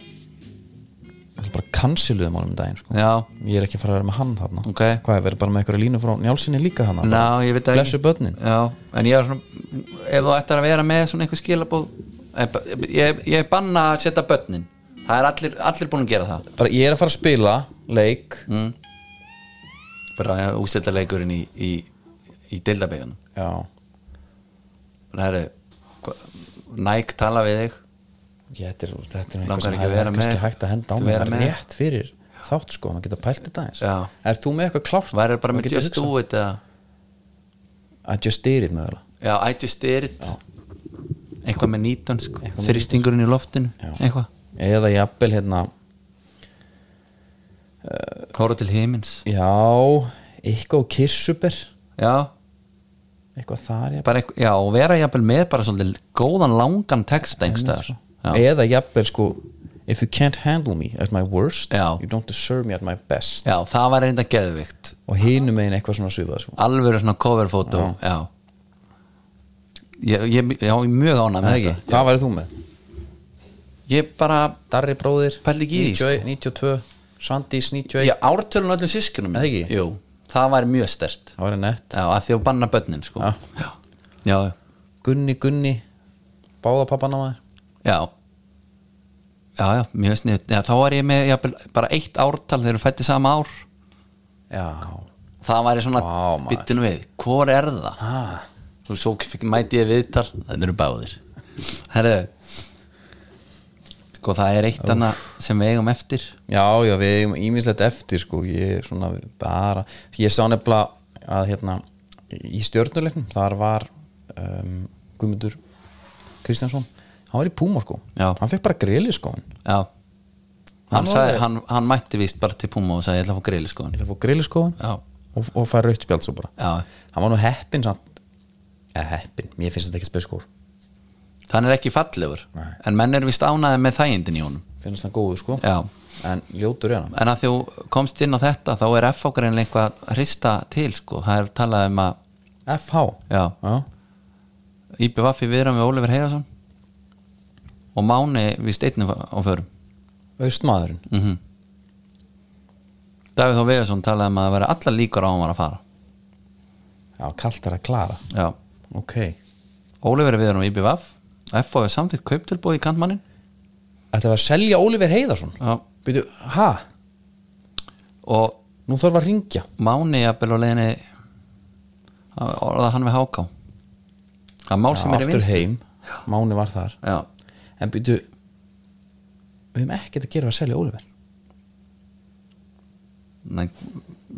Speaker 2: bara canceluðum honum um daginn sko.
Speaker 1: já,
Speaker 2: ég er ekki að fara að vera með hann þarna
Speaker 1: ok
Speaker 2: hvað er verið bara með einhverja línu frá njálsinni líka hann
Speaker 1: Ná, ég veit það
Speaker 2: blessu börnin
Speaker 1: Já, en ég er svona ef þú ættir að vera með svona einhver skilabóð ég, ég, ég banna að setja börnin það er allir, allir búin að gera það
Speaker 2: bara ég er að fara að spila leik
Speaker 1: Mm. bara ja, ústætta leikurinn í, í, í deildabegjanum
Speaker 2: já,
Speaker 1: það eru Nike tala við þig
Speaker 2: ég, þetta er, þetta er
Speaker 1: Langar
Speaker 2: eitthvað sem
Speaker 1: ekki að
Speaker 2: hefði
Speaker 1: vera
Speaker 2: kannski
Speaker 1: með.
Speaker 2: hægt að henda á
Speaker 1: Þú
Speaker 2: mig
Speaker 1: vera
Speaker 2: bara
Speaker 1: með.
Speaker 2: rétt fyrir þátt sko, maður geta pælt þetta eins
Speaker 1: Já.
Speaker 2: er þú með eitthvað klárt
Speaker 1: værið bara
Speaker 2: Maður
Speaker 1: með
Speaker 2: getur
Speaker 1: just
Speaker 2: hugsað.
Speaker 1: do it eða,
Speaker 2: að just do it mögulega
Speaker 1: já, I just did it eitthvað með nýtan sko, þrýstingurinn í loftinu
Speaker 2: Já.
Speaker 1: eitthvað,
Speaker 2: eða jafnvel hérna
Speaker 1: hóra til himins
Speaker 2: já, eitthvað og kissuber
Speaker 1: já,
Speaker 2: eitthvað þar jafnvel
Speaker 1: bara eitthvað, já, og vera jafnvel með bara svolítið góðan langan text einhverstaðar já,
Speaker 2: sko. eða jafnvel sko if you can't handle me at my worst
Speaker 1: Já.
Speaker 2: you don't deserve me at my best
Speaker 1: já, það var reynda geðvikt
Speaker 2: og hinu megin eitthvað svona svipað sko.
Speaker 1: alvöru svona coverfótó já. já ég, ég, já, ég er mjög ánað með
Speaker 2: Eða ekki?
Speaker 1: þetta
Speaker 2: hvað værið þú með?
Speaker 1: ég bara,
Speaker 2: Darri bróðir
Speaker 1: Pæli ekki í því,
Speaker 2: 91, 92, Sandís 91
Speaker 1: ég ártölun öllum sískunum
Speaker 2: Eða ekki?
Speaker 1: Jú, það var mjög stert
Speaker 2: það var nett
Speaker 1: já, að því að banna börnin sko
Speaker 2: Já.
Speaker 1: já, já,
Speaker 2: Gunni Gunni báða pappan á maður
Speaker 1: já já, já, mjög snið já, þá var ég með já, bara eitt ártal þegar við fætti sama ár
Speaker 2: já,
Speaker 1: það var ég svona
Speaker 2: Vá, maður.
Speaker 1: byttinu við hvor er það?
Speaker 2: ah,
Speaker 1: þú svo fikk, mæti ég viðtal þetta eru báðir herðu sko það er eitt annað sem við eigum eftir
Speaker 2: já, já við eigum ímislegt eftir sko ég, svona, bara, ég sá nefnilega að hérna í stjörnuleiknum þar var um, Guðmundur Kristjánsson hann var í Púma sko
Speaker 1: Já.
Speaker 2: hann fekk bara grili sko hann
Speaker 1: já hann,
Speaker 2: var
Speaker 1: sagði,
Speaker 2: alveg-
Speaker 1: hann, hann mætti víst bara til Puma og sagði ég ætla að fá grill sko
Speaker 2: það fór grili sko hann
Speaker 1: já,
Speaker 2: og, og fær rautt spjald svo bara
Speaker 1: Já.
Speaker 2: hann var nú heppin samt eða heppin, mér finnst þetta ekki spilskór
Speaker 1: hann er ekki fallegur
Speaker 2: Nei.
Speaker 1: en menn er víst ánaði með þægindin í honum
Speaker 2: finnst það góður sko
Speaker 1: já,
Speaker 2: en ljótur er hann
Speaker 1: en að þú komst inn á þetta þá er FH greinlega eitthvað að hrista til sko, það er talað um að
Speaker 2: FH
Speaker 1: já,
Speaker 2: Já.
Speaker 1: IBVF í viðram við Ólefur Heiðarsson og Máni víst einnig á förum
Speaker 2: austmaðurinn
Speaker 1: mm Davíð Þó Viðarsson talaði um að það vera allar líkur á að hann var að fara
Speaker 2: já, kallt er að klara
Speaker 1: já,
Speaker 2: ok,
Speaker 1: Ólefur Viðarsson og IBVF FO er samtitt kauptilbúið í kantmannin
Speaker 2: þetta var að selja Oliver Heiðarsson
Speaker 1: já.
Speaker 2: byrju, ha,
Speaker 1: og
Speaker 2: nú þarf að ringja
Speaker 1: Máni jafnvel og leiðinni orðað hann við Háká það er mál sem er í
Speaker 2: aftur
Speaker 1: vinstri.
Speaker 2: heim, Máni var þar
Speaker 1: já,
Speaker 2: en byrju við hefum ekkert að gera að selja Oliver
Speaker 1: Nei,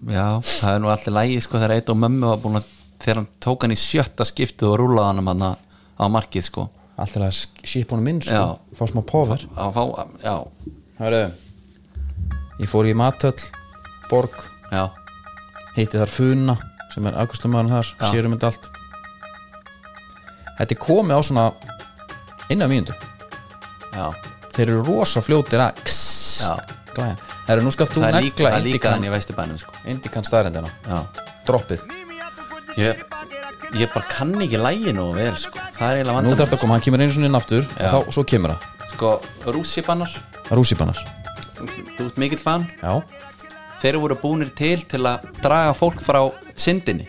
Speaker 1: já, það er nú allir lægi sko þegar eitt og mömmu var búin að þegar hann tók hann í sjötta skiptið og rúlaði hann um hann á markið sko
Speaker 2: alltaf að skipa honum inn sko,
Speaker 1: Já.
Speaker 2: fá smá power
Speaker 1: að fá, já,
Speaker 2: Hörru, ég fór í matöll borg
Speaker 1: já,
Speaker 2: heiti þar Funa sem er afgjörslumaðurinn þar,
Speaker 1: Já.
Speaker 2: sérum þetta allt Þetta er komið á svona innan mínútu
Speaker 1: já
Speaker 2: þeir eru rosa fljótir að kss,
Speaker 1: Já.
Speaker 2: glæja Herru, nú skalt þú
Speaker 1: það er líka,
Speaker 2: negla
Speaker 1: það er líka hann
Speaker 2: Indikan
Speaker 1: í vesturbænum sko
Speaker 2: Indikan staðrendina,
Speaker 1: já.
Speaker 2: droppið
Speaker 1: ég, ég bara kann ekki lægi nú vel sko. það er eiginlega
Speaker 2: Nú þarf þetta
Speaker 1: vandamál.
Speaker 2: að koma, hann kemur einu svona inn aftur
Speaker 1: Já.
Speaker 2: og þá, svo kemur það,
Speaker 1: sko, rússipannar,
Speaker 2: rússipannar
Speaker 1: þú ert mikill fan
Speaker 2: Já,
Speaker 1: þeir voru búnir til til að draga fólk frá syndinni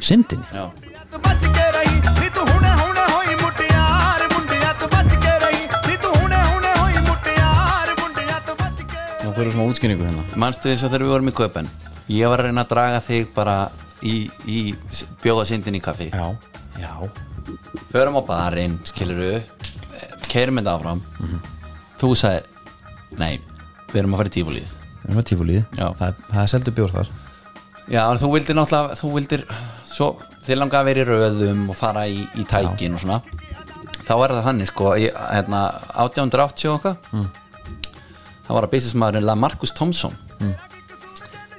Speaker 2: syndin
Speaker 1: já,
Speaker 8: ਤੂੰ ਬਚ ਕੇ ਰਹੀ ਨੀ ਤੂੰ ਹੁਣੇ ਹੁਣੇ ਹੋਈ ਮੁਟਿਆਰ ਮੁੰਡਿਆ ਤੂੰ ਬਚ ਕੇ ਰਹੀ ਨੀ ਤੂੰ ਹੁਣੇ ਹੁਣੇ ਹੋਈ ਮੁਟਿਆਰ ਮੁੰਡਿਆ ਤੂੰ ਬਚ ਕੇ
Speaker 2: Já, þú eru svona útskýringu hérna
Speaker 1: manstu eins og þegar við vorum í köpen ég var að reyna að draga þig bara í, í s- bjóða syndinni í kaffi
Speaker 2: Já, já,
Speaker 1: förum á barinn, skiluru keirum þetta áfram
Speaker 2: Mhm.
Speaker 1: þú sagðir, nei við erum að fara í tífúlíð
Speaker 2: við erum að tífulíð
Speaker 1: Já.
Speaker 2: það, er- það er seldu bjór þar
Speaker 1: Já, en þú vildir náttúrulega þú vildir, svo, þið langaði að vera í röðum og fara í, í tækin og svona þá er það þannig sko í, hérna, 1880 og okkar mm. Mm. þá var að businessmaðurinn La Marcus Thompson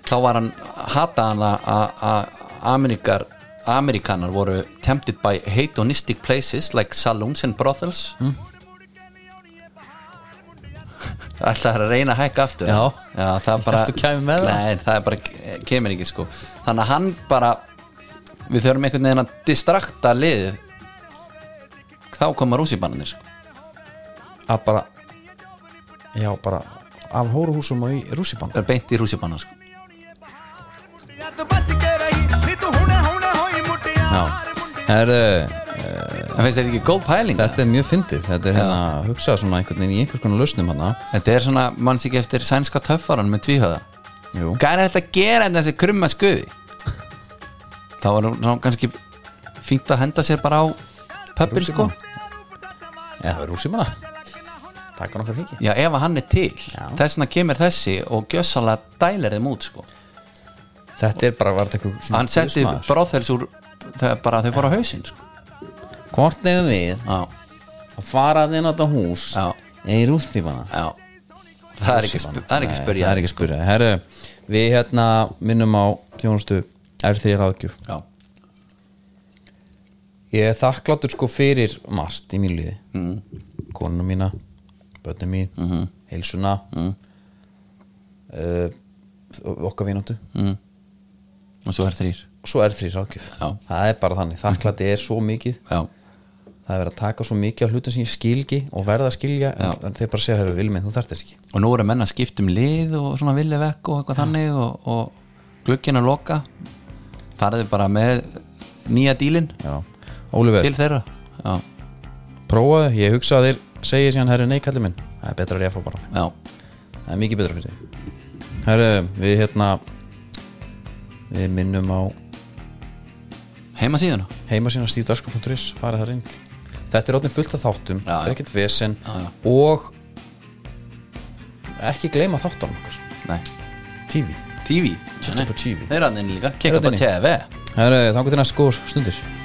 Speaker 1: þá var hann hataði hann að- að að Amerikar Amerikanar voru tempted by hedonistic places like saloons and brothels [LAUGHS] mm. Ætlaði að reyna að hækka aftur
Speaker 2: Já.
Speaker 1: Já, það bara
Speaker 2: Ég hélt þú kæmir með það.
Speaker 1: Nei, það er bara, kemur ekki sko Þannig að hann bara Við þurfum einhvern veginn að distrakta liðið Þá koma rússibannir sko
Speaker 2: að bara já, bara af hóruhúsum og í rússipan
Speaker 1: er beint í rússipanna sko.
Speaker 8: ਮੁੰਡਿਆਂ ਤੋਂ ਬਚ ਕੇ ਰਹੀ ਨੀ ਤੂੰ ਹੁਣੇ ਹੁਣੇ ਹੋਈ
Speaker 2: Já,
Speaker 8: ਮੁਟਿਆਰ
Speaker 2: herru
Speaker 1: en finnst þetta ekki góð pæling
Speaker 2: Þetta er mjög fyndið, þetta er hérna að hugsa svona einhvern veginn í einhvers konar lausnum hérna. hana
Speaker 1: þetta er svona, manns ekki eftir sænska töffaran með tvíhöða
Speaker 2: Jú,
Speaker 1: hvað er þetta að gera en þessi krumma skuði þá var hún svona kannski fínt að henda sér bara á pöppin sko
Speaker 2: Rússipan. eða það er rússimanna Takk hann okkar fengi
Speaker 1: já ef að hann er til
Speaker 2: Já.
Speaker 1: þess vegna kemur þessi og gjössalega dælir þeim út sko
Speaker 2: Þetta er bara, var þetta eitthvað svona
Speaker 1: hann setti
Speaker 2: guðsmaður?
Speaker 1: bróðhels úr þegar bara þau fóru á hausinn sko
Speaker 2: Hvort eigum við
Speaker 1: já,
Speaker 2: að fara þinn á þetta hús
Speaker 1: Já.
Speaker 2: eða í rússimanna
Speaker 1: já það er ekki, sp það er ekki spyrja
Speaker 2: Það er ekki spyrja Herru, við hérna minnum á þjónustu R3 ráðgjöf
Speaker 1: já,
Speaker 2: Ég er þakkláttur sko fyrir margt í mínu lífi mm. konuna mína, börnum mín -hmm. heilsuna mm. okkar vinóttu
Speaker 1: og svo er þrýr
Speaker 2: og svo er þrýr ráðgjöf
Speaker 1: Já.
Speaker 2: það er bara þannig, þakklæti er svo mikið
Speaker 1: já,
Speaker 2: það er verið að taka svo mikið af hlutum sem ég skilgi og verða að skilja en,
Speaker 1: Já.
Speaker 2: en þeir bara segja, herru, vilmið, þú þarft þess ekki
Speaker 1: og nú eru menn að skipta um lið og svona vilja vekk og eitthvað þannig og, og glugginn að loka farðu bara með nýja dílinn
Speaker 2: Já. Óliver,
Speaker 1: til þeirra já,
Speaker 2: prófaðu, ég hugsa að þeir segja síðan, herru, nei, kallið minn það er betra að ég fá bara
Speaker 1: já,
Speaker 2: það er mikið betra fyrir þig Herru, við hérna við minnum á
Speaker 1: heima síðuna
Speaker 2: heimasína stífdarskap.is farið það reynd þetta er átnum fullt af þáttum,
Speaker 1: Já,
Speaker 2: þetta
Speaker 1: já.
Speaker 2: er ekkert vesen
Speaker 1: Já, já.
Speaker 2: og ekki gleyma þáttunum okkar
Speaker 1: nei,
Speaker 2: TV,
Speaker 1: TV
Speaker 2: Settu
Speaker 1: Nei.
Speaker 2: på TV.
Speaker 1: þeirra hann inn líka, kikka
Speaker 2: Þeirra
Speaker 1: på
Speaker 2: inn í.
Speaker 1: TV
Speaker 2: það er þangur til næst góðs stundir